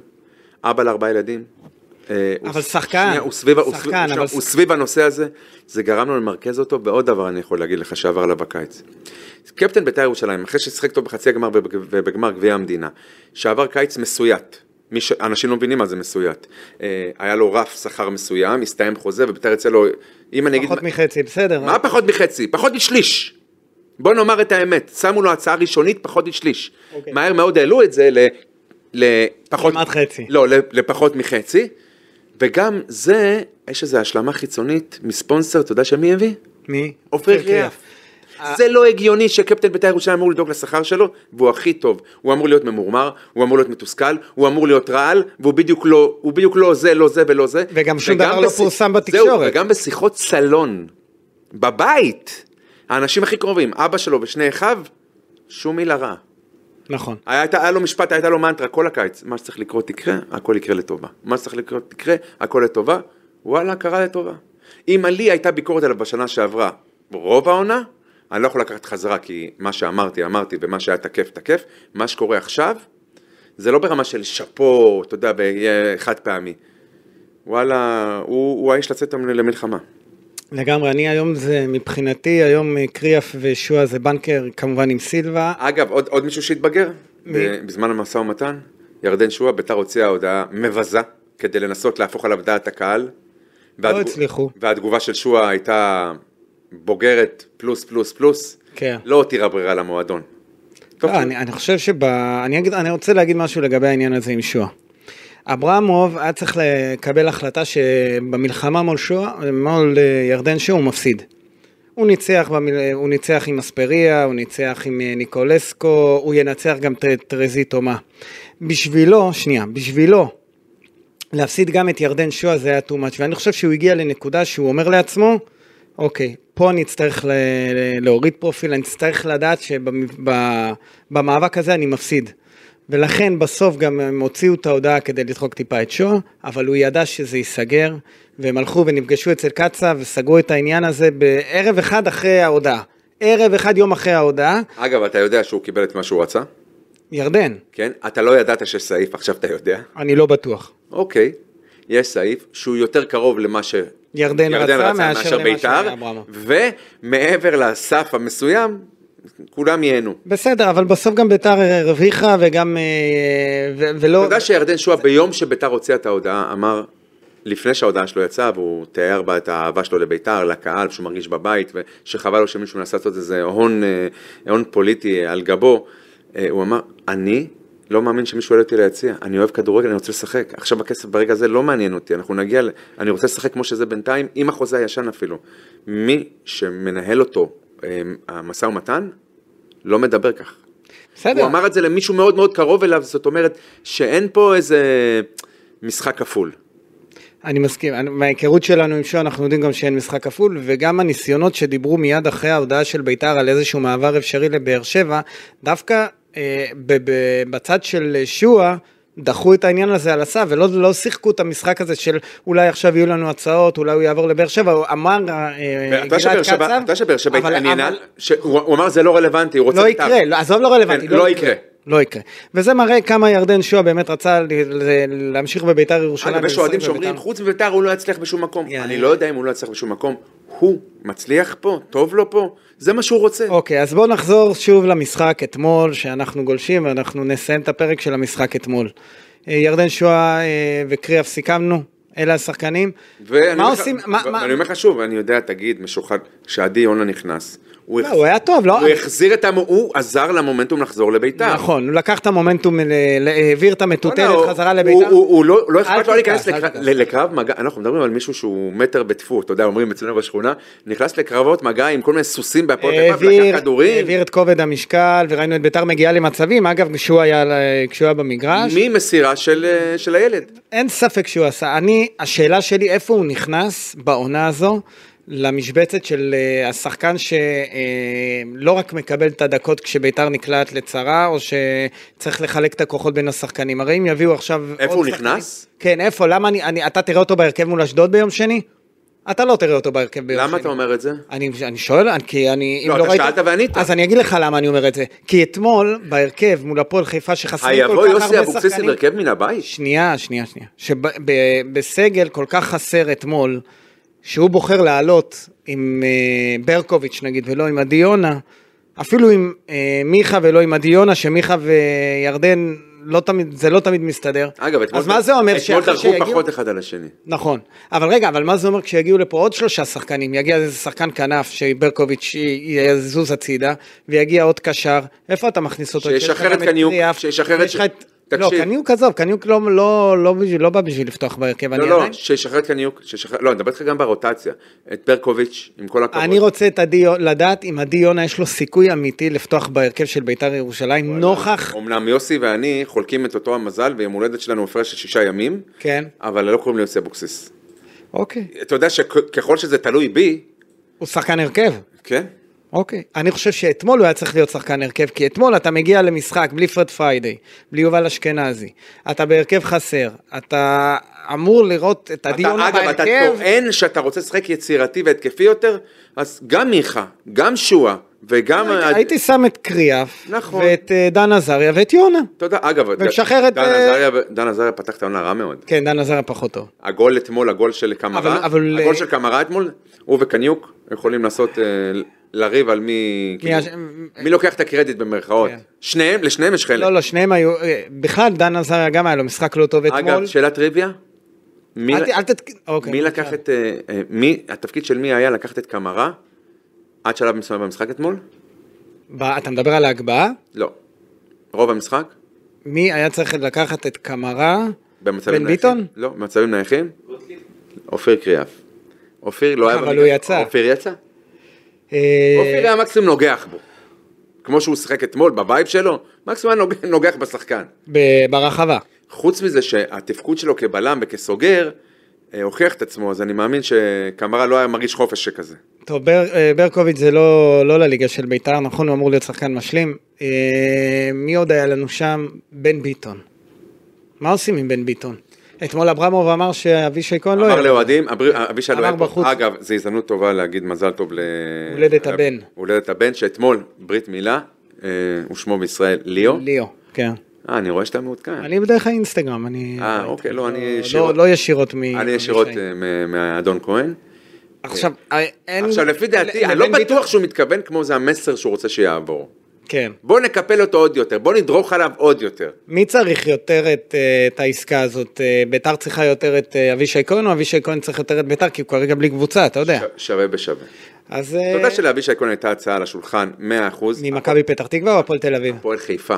אבא לארבעה ילדים. אה, הוא
אבל
ס-
שחקן,
שנייה, הוא סביב, הוא
שחקן,
סביב-
אבל
עכשיו,
ש-
הוא סביב הנושא הזה, זה גרם לו למרכז אותו, ועוד דבר אני יכול להגיד לך שעבר עליו בקיץ. קפטן בית"ר ירושלים, אחרי ששיחק טוב בחצי הגמר ובג- ובגמר גביע המדינה, שעבר קיץ מסויט, מי ש... אנשים לא מבינים מה זה מסויט. אה, היה לו רף שכר מסוים, הסתיים חוזה, ובית"ר יצא לו, אם אני אגיד...
פחות מחצי, בסדר. אה?
מה פחות מחצי? פחות משליש. בוא נאמר את האמת, שמו לו הצעה ראשונית פחות משליש.
אוקיי.
מהר מאוד העלו את זה ל... לפחות...
כמעט חצי.
לא, ל- לפחות מחצי. וגם זה, יש איזו השלמה חיצונית מספונסר, אתה יודע שמי הביא?
מי?
עופר
כן.
קריאף. זה לא הגיוני שקפטן בית"ר ירושלים אמור לדאוג לשכר שלו, והוא הכי טוב. הוא אמור להיות ממורמר, הוא אמור להיות מתוסכל, הוא אמור להיות רעל, והוא בדיוק לא, הוא בדיוק לא זה, לא זה ולא זה.
וגם שום דבר לא פורסם בתקשורת.
זהו, וגם בשיחות סלון, בבית, האנשים הכי קרובים, אבא שלו ושני אחיו, שום מילה רעה.
נכון.
היה, הייתה- היה לו משפט, הייתה לו מנטרה כל הקיץ, מה שצריך לקרות יקרה, הכל יקרה לטובה. מה שצריך לקרות יקרה, הכל לטובה, וואלה, קרה לטובה. אם עלי הייתה ביקורת עליו בשנה שעברה, רוב העונה, אני לא יכול לקחת חזרה, כי מה שאמרתי, אמרתי, ומה שהיה תקף, תקף. מה שקורה עכשיו, זה לא ברמה של שאפו, אתה יודע, ב- חד פעמי. וואלה, הוא, הוא האיש לצאת למלחמה.
לגמרי, אני היום זה, מבחינתי, היום אה, קריאף ושועה זה בנקר, כמובן עם סילבה.
אגב, עוד, עוד מישהו שהתבגר? ב- בזמן המשא ומתן, ירדן שועה, ביתר הוציאה הודעה מבזה כדי לנסות להפוך עליו דעת הקהל. והתגו-
לא הצליחו.
והתגובה של שועה הייתה בוגרת פלוס פלוס פלוס.
כן.
לא הותירה ברירה למועדון. טוב,
לא, אני, אני חושב שב... אני, אגיד, אני רוצה להגיד משהו לגבי העניין הזה עם שואה. אברמוב היה צריך לקבל החלטה שבמלחמה מול שואה, מול אה, ירדן שואה הוא מפסיד. הוא ניצח, במיל... הוא ניצח עם אספריה, הוא ניצח עם אה, ניקולסקו, הוא ינצח גם את טרזיטו מה. בשבילו, שנייה, בשבילו, להפסיד גם את ירדן שואה זה היה too much, ואני חושב שהוא הגיע לנקודה שהוא אומר לעצמו, אוקיי, פה אני אצטרך ל- ל- להוריד פרופיל, אני אצטרך לדעת שבמאבק הזה אני מפסיד. ולכן בסוף גם הם הוציאו את ההודעה כדי לדחוק טיפה את שואה, אבל הוא ידע שזה ייסגר, והם הלכו ונפגשו אצל קצא וסגרו את העניין הזה בערב אחד אחרי ההודעה. ערב אחד יום אחרי ההודעה,
אגב, אתה יודע שהוא קיבל את מה שהוא רצה,
ירדן,
כן? אתה לא ידעת שיש סעיף, עכשיו אתה יודע.
אני לא בטוח.
אוקיי, יש סעיף שהוא יותר קרוב למה ש...
ירדן רצה מאשר למה שהיה אברמוב.
ומעבר לסף המסוים, כולם ייהנו.
בסדר, אבל בסוף גם ביתר הרוויחה וגם... אה, ו- ולא...
אתה יודע שירדן שועה ביום שביתר הוציאה את ההודעה, אמר, לפני שההודעה שלו יצאה, והוא תיאר בה את האהבה שלו לביתר, לקהל, שהוא מרגיש בבית, ושחבל לו שמישהו מנסה לעשות איזה הון, אה, הון פוליטי על גבו, אה, הוא אמר, אני לא מאמין שמישהו יעלה אותי ליציע, אני אוהב כדורגל, אני רוצה לשחק, עכשיו הכסף ברגע הזה לא מעניין אותי, אנחנו נגיע, ל... אני רוצה לשחק כמו שזה בינתיים, עם החוזה הישן אפילו. מי שמנהל אותו, אה, המשא ומתן, לא מדבר כך.
בסדר.
הוא אמר את זה למישהו מאוד מאוד קרוב אליו, זאת אומרת שאין פה איזה משחק כפול.
אה, אני מסכים, אני- מההיכרות שלנו עם שואה אנחנו יודעים גם שאין משחק כפול וגם הניסיונות שדיברו מיד אחרי ההודעה של בית"ר על איזשהו מעבר אפשרי לבאר שבע, דווקא אה, ב- ב- בצד של שואה דחו את העניין הזה על הסף ולא לא שיחקו את המשחק הזה של אולי עכשיו יהיו לנו הצעות, אולי הוא יעבור לבאר שבע, הוא אמר אה,
אתה יודע שבאר שבע- אתה יודע שבאר שבע
אבל-
התעניינה,
אבל-
שהוא- הוא אמר זה לא רלוונטי, הוא רוצה...
לא
בית"ר".
יקרה, לא, עזוב לא רלוונטי,
כן, לא יקרה.
לא יקרה. וזה מראה כמה ירדן שואה באמת רצה ל- ל- להמשיך בביתר ירושלים.
אגב, יש
ולשחק
אוהדים
בביתר.
שאומרים, חוץ מביתר הוא לא יצליח בשום מקום.
יאללה.
אני לא יודע אם הוא לא יצליח בשום מקום. הוא מצליח פה, טוב לו פה, זה מה שהוא רוצה.
אוקיי, אז בואו נחזור שוב למשחק אתמול, שאנחנו גולשים, ואנחנו נסיים את הפרק של המשחק אתמול. אה, ירדן שואה אה, וקריאף סיכמנו, אלה השחקנים.
ואני
מה
אומר לך-
עושים, מה, מה,
ואני אומר לך שוב, אני יודע, תגיד, משוחד, שעדי יונה נכנס, הוא
לא,
החזיר-
הוא היה טוב, לא?
הוא החזיר את המו... הוא עזר למומנטום לחזור לביתר.
נכון, הוא לקח את המומנטום, ל- ל- העביר את המטוטלת
הוא-
חזרה
לא, הוא-
לביתר.
הוא הוא לא לא
אל
אכפת לו להיכנס
תכעס, אל
לקרב-
תכעס.
ל- לקרב מגע, אנחנו מדברים על מישהו שהוא מטר בטפו, אתה יודע, אומרים אצלנו בשכונה, נכנס לקרבות מגע עם כל מיני סוסים בהפועל חיפה,
העביר,
לקח כדורים,
העביר את כובד המשקל, וראינו את ביתר מגיעה למצבים, אגב, כשהוא היה, ל- כשהוא היה במגרש.
ממסירה של אה, של הילד.
אין ספק שהוא עשה. אני, השאלה שלי, איפה הוא נכנס בעונה הזו למשבצת של אה, השחקן שלא אה, לא רק מקבל את הדקות כשביתר נקלעת לצרה, או שצריך לחלק את הכוחות בין השחקנים. הרי אם יביאו עכשיו...
איפה
עוד
הוא
שחקנים-
נכנס?
כן, איפה? למה אני... אני אתה תראה אותו בהרכב מול אשדוד ביום שני? אתה לא תראה אותו בהרכב ביום שני.
למה אתה אומר את זה?
אני, אני שואל, אני- כי אני... אם
לא, אתה
ראית-
שאלת וענית.
אז אני אגיד לך למה אני אומר את זה. כי אתמול, בהרכב, מול הפועל חיפה, שחסרים כל כך
היבוא
הרבה שחקנים...
יוסי אבוקסיס עם הרכב מן הבית?
שנייה, שנייה, שנייה. שבסגל כל כך חסר אתמול, שהוא בוחר לעלות עם אה, ברקוביץ' נגיד, ולא עם עדי יונה, אפילו עם אה, מיכה ולא עם עדי יונה, שמיכה וירדן, לא תמיד, זה לא תמיד מסתדר.
אגב, אתמול
אז מה זה אומר
אתמול
שאחרי
דרכו
שיגיעו...
פחות אחד על השני.
נכון, אבל רגע, אבל מה זה אומר כשיגיעו לפה עוד שלושה שחקנים, יגיע איזה שחקן כנף שברקוביץ' י- יזוז הצידה, ויגיע עוד קשר, איפה אתה מכניס אותו?
שישחרר
כשיש לך
את
גם
קניוק,
קריאף,
שישחרר את
ויש לך
ש-
לא,
תקשיב.
קניוק עזוב, קניוק לא, לא, לא, בשביל- לא בא בשביל לפתוח בהרכב, אני
לא, לא,
עדיין-
שישחרר את קניוק, שישחרר, לא, אני מדבר איתך גם ברוטציה. את ברקוביץ', עם כל הכבוד.
אני רוצה את עדי, לדעת אם עדי יונה יש לו סיכוי אמיתי לפתוח בהרכב של בית"ר ירושלים, נוכח,
אמנם יוסי ואני חולקים את אותו המזל, ויום הולדת שלנו הפרש של שישה ימים,
כן,
אבל לא קוראים לי יוסי אבוקסיס.
אוקיי,
אתה יודע שככל שזה תלוי בי,
הוא שחקן הרכב,
כן?
אוקיי. אני חושב שאתמול הוא היה צריך להיות שחקן הרכב, כי אתמול אתה מגיע למשחק בלי פרד פריידי, בלי יובל אשכנזי, אתה בהרכב חסר, אתה אמור לראות את
אתה,
הדיון
אגב, אתה
בהרכב.
טוען שאתה רוצה לשחק יצירתי והתקפי יותר, אז גם מיכה, גם שועה, וגם...
הייתי- אה, הייתי שם את קריאף,
נכון.
ואת אה, דן עזריה ואת יונה.
אתה יודע, אגב,
ומשחרר את-
דן עזריה- דן עזריה פתח את העונה רע מאוד.
כן, דן עזריה פחות טוב.
הגול אתמול, הגול של
אבל-
קמרה,
אבל- אה,
הגול של קמרה אתמול, הוא וקניוק יכולים לעשות, אה, לריב על מי,
מי
כאילו, מי לוקח את הקרדיט במרכאות.
כן.
שניהם, לשניהם יש חלק.
לא, לא, שניהם היו, אה, בכלל דן עזריה גם היה לו משחק לא טוב אתמול.
אגב, שאלת טריוויה? מי
אל ת-
ל-
אל תת- אוקיי.
מי לקח את, אה, אה, מי, התפקיד של מי היה לקחת את קמרה עד שלב מסוים במשחק אתמול?
ב- אתה מדבר על ההגבהה?
לא. רוב המשחק?
מי היה צריך לקחת את קמרה?
במצבים
בן
נייחים?
ביטון?
לא, במצבים נייחים? אופיר קריאף. אופיר לא היה...
אבל
במגרש.
הוא יצא.
אופיר יצא?
אה,
אופיר היה מקסימום נוגח בו. כמו שהוא שיחק אתמול בבייב שלו, מקסימום היה נוגח- נוגח בשחקן.
ב- ברחבה.
חוץ מזה שהתפקוד שלו כבלם וכסוגר, אה, הוכיח את עצמו, אז אני מאמין שקמרה לא היה מרגיש חופש שכזה.
טוב, בר, אה, ברקוביץ' זה לא, לא לליגה של ביתר, נכון? הוא אמור להיות שחקן משלים. אה, מי עוד היה לנו שם? בן ביטון. מה עושים עם בן ביטון? אתמול אברמוב אמר שאבישי כהן לא
אמר
יהיה.
לאוהדים, אבר- אבישי לא
אמר
היה
בחוץ.
פה. אגב, זו הזדמנות טובה להגיד מזל טוב ל...
הולדת הבן.
הולדת הבן, שאתמול ברית מילה, אה, ושמו בישראל ליאו.
ליאו, כן.
אה, אני רואה שאתה מעודכן.
אני בדרך האינסטגרם, אני...
אה, אוקיי, לא, אני
לא,
ישירות-
לא ישירות מ...
אני ישירות
אבישי.
אה, מ- מהאדון כהן.
עכשיו, אה, אין...
עכשיו, לפי דעתי,
ל-
אני לא
לבן ביטון-
בטוח שהוא מתכוון כמו זה המסר שהוא רוצה שיעבור.
כן.
בוא נקפל אותו עוד יותר, בוא נדרוך עליו עוד יותר.
מי צריך יותר את, אה, את העסקה הזאת? אה, ביתר צריכה יותר את אה, אבישי כהן, או אבישי כהן צריך יותר את ביתר, כי הוא כרגע בלי קבוצה, אתה יודע.
ש- שווה בשווה.
אז...
אתה
אה,
יודע שלאבישי כהן הייתה הצעה על השולחן 100%.
ממכבי פתח תקווה או הפועל תל אביב?
הפועל חיפה.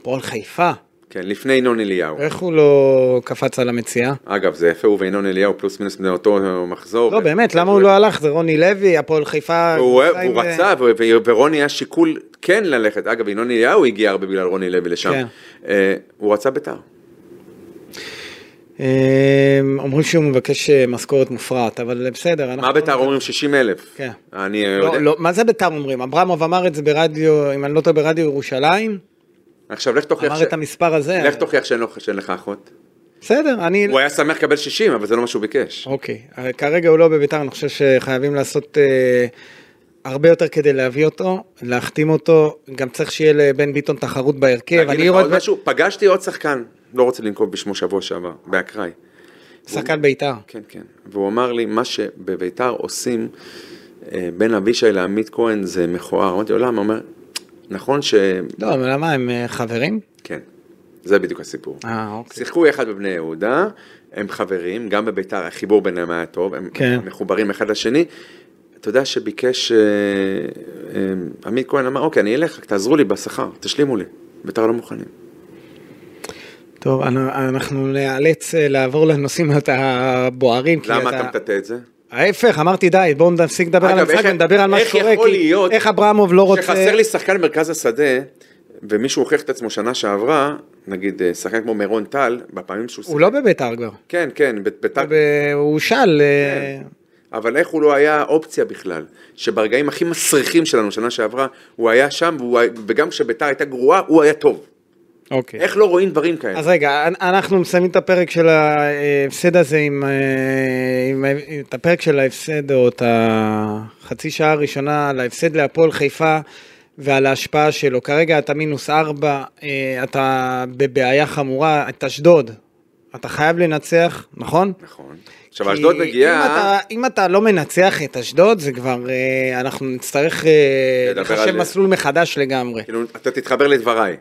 הפועל חיפה.
כן, לפני ינון אליהו.
איך הוא לא קפץ על המציאה?
אגב, זה יפה, הוא וינון אליהו פלוס מינוס בני אותו מחזור.
לא, באמת, למה הוא לא הלך? זה רוני לוי, הפועל חיפה.
אוקיי. הוא אוהב,
קבוצה עם-
הוא רצה, ו- ו- ורוני היה שיקול כן ללכת. אגב, ינון אליהו הגיע הרבה בגלל רוני לוי לשם.
כן. נכון.
אה, הוא רצה ביתר.
אה, אומרים שהוא מבקש אה, משכורת מופרעת, אבל בסדר. אנחנו-
מה ביתר אומרים? 60 אלף.
כן.
אני אה,
לא,
יודע.
לא, מה זה ביתר אומרים? אברמוב אמר את זה ברדיו, אם אני לא טועה, ברדיו ירושלים.
עכשיו, לך תוכיח ש-
אמר את המספר הזה.
לך תוכיח שאין לו- שאין לך אחות.
בסדר, אני...
הוא היה שמח לקבל 60, אבל זה לא מה שהוא ביקש.
אוקיי, אה, כרגע הוא לא בביתר, אני חושב שחייבים לעשות אה, הרבה יותר כדי להביא אותו, להחתים אותו, גם צריך שיהיה לבן ביטון תחרות בהרכב,
אני
אוקיי, אני
עוד
רואה את
משהו, פגשתי עוד שחקן, לא רוצה לנקוב בשמו שבוע שעבר, באקראי.
שחקן ביתר.
כן, כן. והוא אמר לי, מה שבביתר עושים אה, בין אבישי לעמית כהן זה מכוער. אמרתי לו, למה? הוא אומר, נכון ש...
לא, אבל למה הם אה, חברים?
כן, זה בדיוק הסיפור.
אה, אוקיי.
שיחקו יחד בבני יהודה, הם חברים, גם בביתר החיבור ביניהם היה טוב, הם
כן.
מחוברים אחד לשני. אתה יודע שביקש, אה, אה, עמית כהן אמר, אוקיי, אני אלך, רק תעזרו לי בשכר, תשלימו לי. ביתר לא מוכנים.
טוב, אנ- אנחנו נאלץ אה, לעבור לנושאים הת- הבוערים. כי
למה אתה מטאטא את זה?
ההפך, אמרתי די, בואו נפסיק לדבר על
אגב,
המשחק
איך-
ונדבר על מה
איך
שקורה.
יכול
כי
להיות
איך אברמוב לא רוצה...
כשחסר לי שחקן במרכז השדה, ומישהו הוכיח את עצמו שנה שעברה, נגיד אה, שחקן כמו מירון טל, בפעמים שהוא
הוא לא בביתר כבר.
כן, כן, בית- ביתר,
הוא ב- הוא שאל... אה,
כן. אבל איך הוא לא היה אופציה בכלל? שברגעים הכי מסריחים שלנו שנה שעברה, הוא היה שם, והוא היה- וגם כשביתר הייתה גרועה, הוא היה טוב.
אוקיי.
איך לא רואים דברים כאלה?
אז רגע, אנ- אנחנו מסיימים את הפרק של ההפסד הזה עם, אה, עם, ה- את הפרק של ההפסד, או את החצי שעה הראשונה על ההפסד להפועל חיפה ועל ההשפעה שלו. כרגע אתה מינוס ארבע, אה, אתה בבעיה חמורה, את אשדוד, אתה חייב לנצח, נכון?
נכון. עכשיו, אשדוד
כי אם
מגיעה...
אתה, אם אתה לא מנצח את אשדוד, זה כבר, אה, אנחנו נצטרך אה,
לדבר
לחשב
על-
מסלול מחדש לגמרי.
כאילו, אתה תתחבר לדבריי.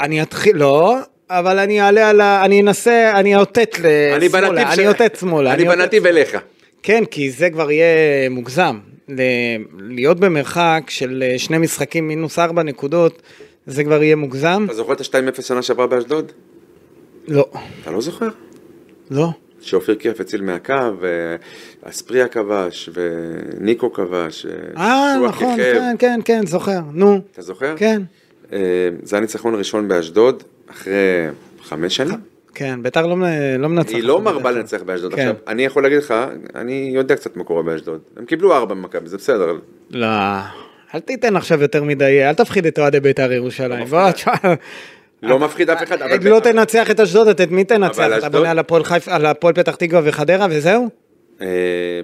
אני אתחיל, לא, אבל אני אעלה על ה... אני אנסה, אני אאותת לשמאלה,
אני בנתיב
אני אאותת אה, שמאלה.
אני
אאותת-
בנתיב אליך.
כן, כי זה כבר יהיה מוגזם. ל- להיות במרחק של אה, שני משחקים מינוס ארבע נקודות, זה כבר יהיה מוגזם?
אתה זוכר את ה-2-0 שנה שעברה באשדוד?
לא,
אתה לא זוכר?
לא.
שאופיר קריאף הציל מהקו, ואספריה כבש, וניקו כבש.
אה,
שועה
נכון,
כיכב.
כן, כן, כן, זוכר, נו.
אתה זוכר?
כן,
אה, זה הניצחון הראשון באשדוד, אחרי חמש שנים.
כן, ביתר לא מ- לא מנצחת.
היא לא
בדרך
מרבה
כלל.
לנצח באשדוד.
כן.
עכשיו, אני יכול להגיד לך, אני יודע קצת מה קורה באשדוד. הם קיבלו ארבע ממכבי, זה בסדר.
לא. אל תיתן עכשיו יותר מדי, אל תפחיד את אוהדי בית"ר ירושלים. בוא, תשמע,
לא מפחיד אף אחד, אבל...
לא תנצח את אשדוד, את את מי תנצח?
אבל
אתה
אשדוד-
בונה על הפועל חיפה, על הפועל פתח תקווה וחדרה וזהו?
אה,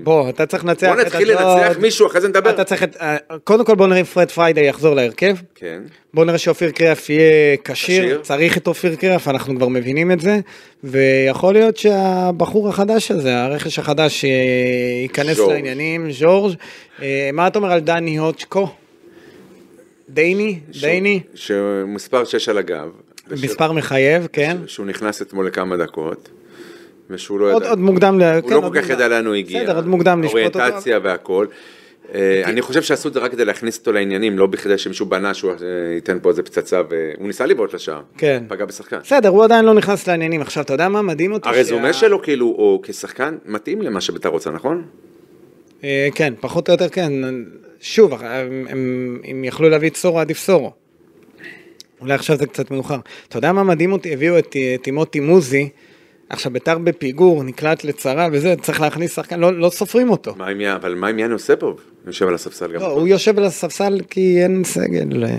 בוא, אתה צריך לנצח
בוא
את
נתחיל לנצח מישהו, אחרי זה נדבר.
אתה צריך את... אה, קודם כל בוא נראה אם פרד פריידי יחזור להרכב.
כן.
בוא נראה שאופיר קריאף יהיה כשיר,
כשיר.
צריך את אופיר קריאף, אנחנו כבר מבינים את זה, ויכול להיות שהבחור החדש הזה, הרכש החדש אה, ייכנס
ז'ורג'.
לעניינים, ז'ורג'. אה, מה אתה אומר על דני הוצ'קו? דייני? דייני?
שמספר 6 על הגב. וש-
מספר מחייב, כן.
שהוא נכנס אתמול לכמה דקות, ושהוא לא
עוד
ידע.
עוד מוקדם, ל-
הוא
כן,
לא
עוד
כל כך
מוקדם.
ידע לאן הוא הגיע.
בסדר, עוד מוקדם לשפוט אותו. אוקיי.
אוריינטציה והכל. אה, אני חושב שעשו את זה רק כדי להכניס אותו לעניינים, לא בכדי שמישהו בנה שהוא אה, ייתן פה איזה פצצה, והוא ניסה לבעוט לשער.
כן.
פגע בשחקן.
בסדר, הוא עדיין לא נכנס לעניינים. עכשיו, אתה יודע מה מדהים אותי?
הרזומה
שה-
שלו כאילו, או כשחקן, מתאים למה שביתר רוצה, נכון?
אה, כן, פחות או יותר כן. שוב, אה, הם, הם, אם יכלו להביא את סורו, עדיף סורו. אולי עכשיו זה קצת מאוחר. אתה יודע מה מדהים אותי? הביאו את אה, טימותי מוזי, עכשיו ביתר בפיגור, נקלט לצרה וזה, צריך להכניס שחקן, לא, לא סופרים אותו.
מה עם יא- אבל מה עם יאן יוספוב? יושב על הספסל גם.
לא, הוא יושב על הספסל כי אין סגל. אה,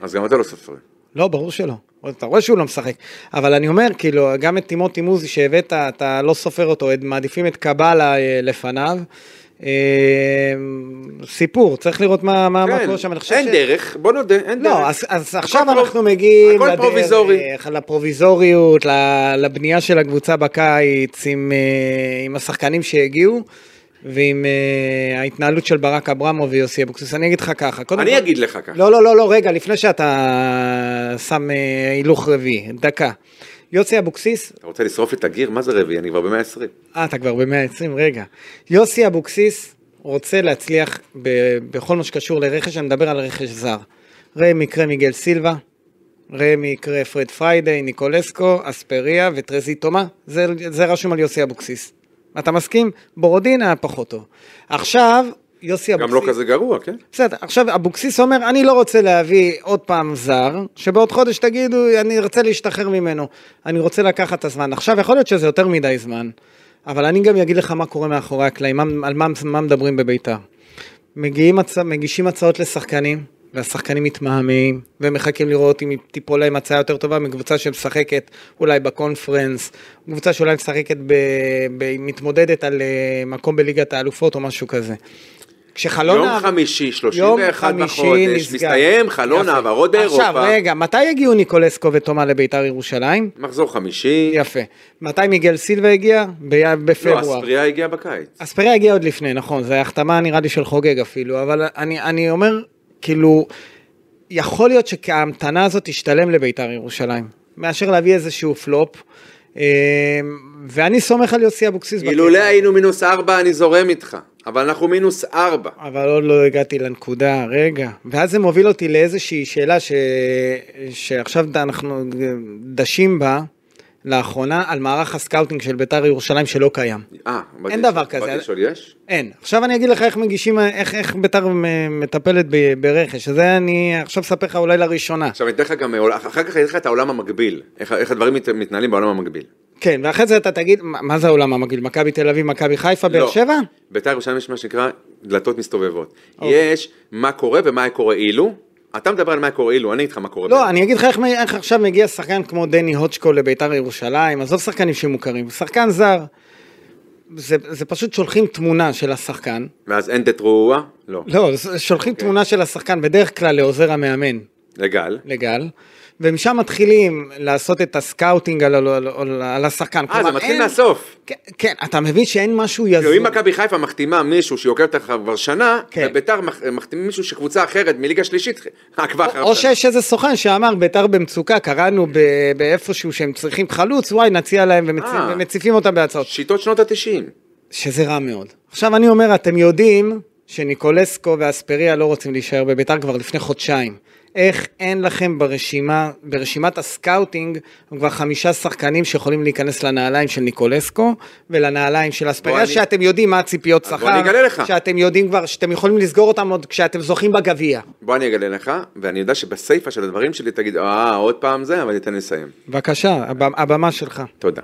אז גם אתה לא סופר.
לא, ברור שלא. אתה רואה שהוא לא משחק. אבל אני אומר, כאילו, גם את טימותי מוזי שהבאת, אתה לא סופר אותו, את- מעדיפים את קבלה אה, לפניו. אה, סיפור, צריך לראות מה מה- מה
כן,
קורה שם. אני חושב
אין
ש-
דרך, בוא נודה, אין דרך.
לא, אז, אז עכשיו
הכל
אנחנו
פרו-
מגיעים
הכל פרוביזורי.
לדרך, אה, לפרוביזוריות, ל- לבנייה של הקבוצה בקיץ, עם, אה, עם השחקנים שהגיעו, ועם אה, ההתנהלות של ברק אברמו ויוסי אבוקסיס. אני אגיד לך ככה, קודם
אני אגיד לך ככה.
לא, לא, לא, לא, רגע, לפני שאתה שם אה, הילוך רביעי, דקה. יוסי אבוקסיס,
אתה רוצה לשרוף לי את הגיר? מה זה רביעי? אני כבר במאה עשרים.
אה, אתה כבר במאה ה-20, רגע. יוסי אבוקסיס רוצה להצליח ב- בכל מה שקשור לרכש, אני מדבר על רכש זר. ראה מקרה מיגל סילבה, ראה מקרה פרד פריידי, ניקולסקו, אספריה וטרזי תומה, זה, זה רשום על יוסי אבוקסיס. אתה מסכים? בורודין היה פחות טוב. עכשיו, יוסי
גם
אבוקסיס...
לא כזה גרוע, כן?
בסדר, עכשיו אבוקסיס אומר, אני לא רוצה להביא עוד פעם זר, שבעוד חודש תגידו, אני ארצה להשתחרר ממנו. אני רוצה לקחת את הזמן. עכשיו, יכול להיות שזה יותר מדי זמן, אבל אני גם אגיד לך מה קורה מאחורי הקלעים, מה- על מה, מה מדברים בביתר. מגיעים, הצ... מגישים הצעות לשחקנים, והשחקנים מתמהמהים, ומחכים לראות אם תיפול להם הצעה יותר טובה מקבוצה שמשחקת אולי בקונפרנס, קבוצה שאולי משחקת, ב... ב... מתמודדת על אה, מקום בליגת האלופות או משהו כזה. כשחלון
יום
העבר-
חמישי,
לא יום
31
חמישי
בחודש,
נסגר.
מסתיים חלון
יפה.
העברות באירופה.
עכשיו, רגע, מתי הגיעו ניקולסקו ותומה לביתר ירושלים?
מחזור חמישי.
יפה. מתי מיגל סילבה הגיע? ב-
לא,
בפברואר.
הספרייה הגיעה בקיץ.
אספריה הגיע עוד לפני, נכון, זו החתמה נראה לי של חוגג אפילו, אבל אני, אני אומר, כאילו, יכול להיות שההמתנה הזאת תשתלם לביתר ירושלים, מאשר להביא איזשהו פלופ, אה, ואני סומך על יוסי אבוקסיס. בקטע
אילולא
הזה.
היינו מינוס ארבע, אני זורם איתך. אבל אנחנו מינוס ארבע.
אבל עוד לא הגעתי לנקודה, רגע. ואז זה מוביל אותי לאיזושהי שאלה ש... שעכשיו אנחנו דשים בה לאחרונה, על מערך הסקאוטינג של בית"ר ירושלים שלא קיים.
אה, באתי-
אין דבר כזה.
באתי לשאול, יש?
אין. עכשיו אני אגיד לך איך מגישים, איך, איך בית"ר מ- מטפלת ב- ברכש. זה אני עכשיו אספר לך אולי לראשונה.
עכשיו אני אתן לך גם, עול- אחר כך אני אתן לך את העולם המקביל. איך- איך הדברים מת- מתנהלים בעולם המקביל.
כן, ואחרי זה אתה תגיד, מה מה זה העולם המגעיל? מכבי תל אביב, מכבי חיפה, באר
לא.
שבע?
בית"ר ירושלים יש מה שנקרא דלתות מסתובבות.
אוקיי.
יש מה קורה ומה היה קורה אילו. אתה מדבר על מה קורה אילו, אני אגיד לך מה קורה.
לא, אני אגיד לך איך, מ- איך עכשיו מגיע שחקן כמו דני הוצ'קו לביתר ירושלים, עזוב שחקנים שמוכרים, שחקן זר. זה, זה פשוט שולחים תמונה של השחקן,
ואז אין דתרועה? לא.
לא, זה- שולחים okay. תמונה של השחקן בדרך כלל לעוזר המאמן,
לגל. אה,
לגל, ומשם מתחילים לעשות את הסקאוטינג על, על, על, על השחקן.
אה, זה
כלומר,
מתחיל
אין-
מהסוף.
כן, כן, אתה מבין שאין משהו
כאילו, אם
יזום.
מכבי חיפה מחתימה מישהו שעוקב אותך כבר שנה,
כן.
וביתר מח- מחתימים מישהו שקבוצה אחרת מליגה שלישית עקבה אחריו.
או
שנה.
שיש איזה סוכן שאמר ביתר במצוקה, קראנו ב- באיפשהו שהם צריכים חלוץ, וואי, נציע להם ומצ-
אה.
ומציפים אותם בהצעות.
שיטות שנות התשעים.
שזה רע מאוד. עכשיו אני אומר, אתם יודעים שניקולסקו ואספריה לא רוצים להישאר בביתר כבר לפני חודשיים. איך אין לכם ברשימה, ברשימת הסקאוטינג, כבר חמישה שחקנים שיכולים להיכנס לנעליים של ניקולסקו ולנעליים של
בוא
אספריה,
אני-
שאתם יודעים מה הציפיות
אז בוא
שכר,
אני אגלה לך.
שאתם יודעים כבר, שאתם יכולים לסגור אותם עוד כשאתם זוכים בגביע.
בוא אני אגלה לך, ואני יודע שבסיפה של הדברים שלי תגיד, אה, עוד פעם זה, אבל תן לי לסיים.
בבקשה, הבמ- הבמה שלך.
תודה.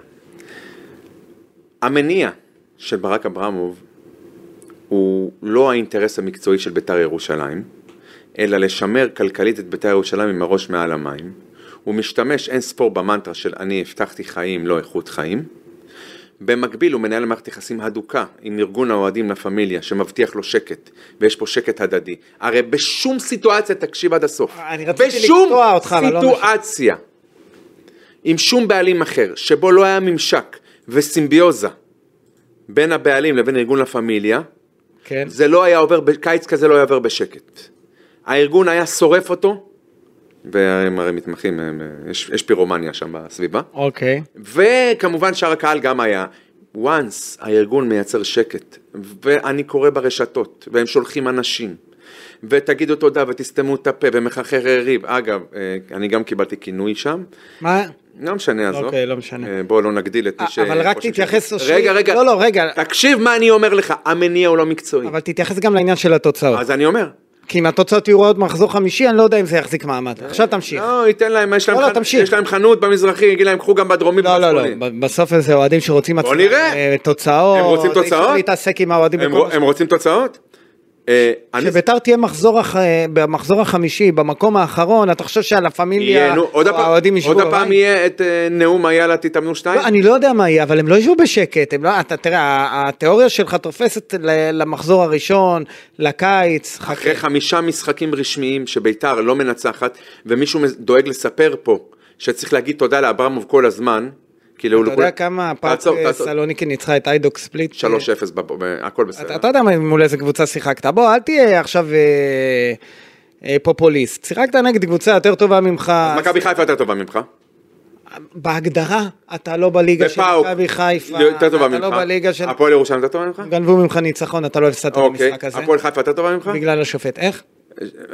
המניע של ברק אברמוב הוא לא האינטרס המקצועי של ביתר ירושלים, אלא לשמר כלכלית את בית"ר ירושלים עם הראש מעל המים. הוא משתמש אין ספור במנטרה של אני הבטחתי חיים, לא איכות חיים. במקביל הוא מנהל מערכת יחסים הדוקה עם ארגון האוהדים לה פמיליה שמבטיח לו שקט ויש פה שקט הדדי. הרי בשום סיטואציה, תקשיב עד הסוף,
אני רציתי
בשום
לקטוע אותך, אבל לא
סיטואציה עם שום בעלים אחר שבו לא היה ממשק וסימביוזה בין הבעלים לבין ארגון לה פמיליה,
כן.
זה לא היה עובר, קיץ כזה לא היה עובר בשקט. הארגון היה שורף אותו, והם הרי מתמחים, הם, יש, יש פירומניה שם בסביבה,
אוקיי.
וכמובן שאר הקהל גם היה. once הארגון מייצר שקט, ואני קורא ברשתות, והם שולחים אנשים, ותגידו תודה ותסתמו את הפה, ומחרחר ריב. אגב, אה, אני גם קיבלתי כינוי שם,
מה?
לא משנה, עזוב.
אוקיי, לא משנה.
אה, בואו לא נגדיל את מי ש...
אבל רק
חושב
תתייחס...
ש-
אושרי-
רגע, רגע.
לא, לא, רגע.
תקשיב מה אני אומר לך, המניע הוא לא מקצועי.
אבל תתייחס גם לעניין של התוצאות.
אז אני אומר.
כי אם התוצאות יהיו עוד מחזור חמישי, אני לא יודע אם זה יחזיק מעמד. עכשיו תמשיך.
לא, ייתן להם, יש להם
לא, לא,
חנ-
תמשיך.
יש להם חנות במזרחי, יגיד להם, קחו גם בדרומי
לא, לא, לא,
ובצפוני."
ב- בסוף זה אוהדים שרוצים
בוא
הצ-
נראה.
אה, תוצאות.
הם רוצים
אי אפשר
תוצאות?
להתעסק עם האוהדים.
הם
בכל
רוצ- הם רוצים תוצאות? אה, אני-
כשביתר תהיה מחזור אח- אה, במחזור החמישי, במקום האחרון, אתה חושב שעל הפמיליה,
יהיה, נו, עוד
או
הפעם-
האוהדים ישבו
עוד
בבית?
הפעם יהיה את אה, נאום היאללה תתאמנו שתיים?
לא, אני לא יודע מה יהיה, אבל הם לא ישבו בשקט. הם לא, אתה תראה, ה- התיאוריה שלך תופסת ל- למחזור הראשון, לקיץ. חכה.
אחרי חמישה משחקים רשמיים שביתר לא מנצחת, ומישהו מז- דואג לספר פה שצריך להגיד תודה לאברמוב כל הזמן, כאילו...
אתה יודע
לכולם-
כמה הפארק
תעצור, תעצור.
סלוניקי ניצחה את איידוק ספליט?
3-0, בב- ב- הכל
אתה,
בסדר.
אתה יודע מה- מול איזה קבוצה שיחקת, בוא אל תהיה עכשיו אה, אה, פופוליסט, שיחקת נגד קבוצה יותר טובה ממך,
מכבי חיפה יותר טובה ממך.
בהגדרה אתה לא בליגה של
ופאוק,
מכבי חיפה,
יותר טובה
אתה
ממך.
לא בליגה של,
הפועל ירושלים יותר טובה ממך?
גנבו ממך ניצחון, אתה לא הפסדת
אוקיי.
במשחק הזה,
הפועל חיפה יותר טובה ממך?
בגלל השופט, איך?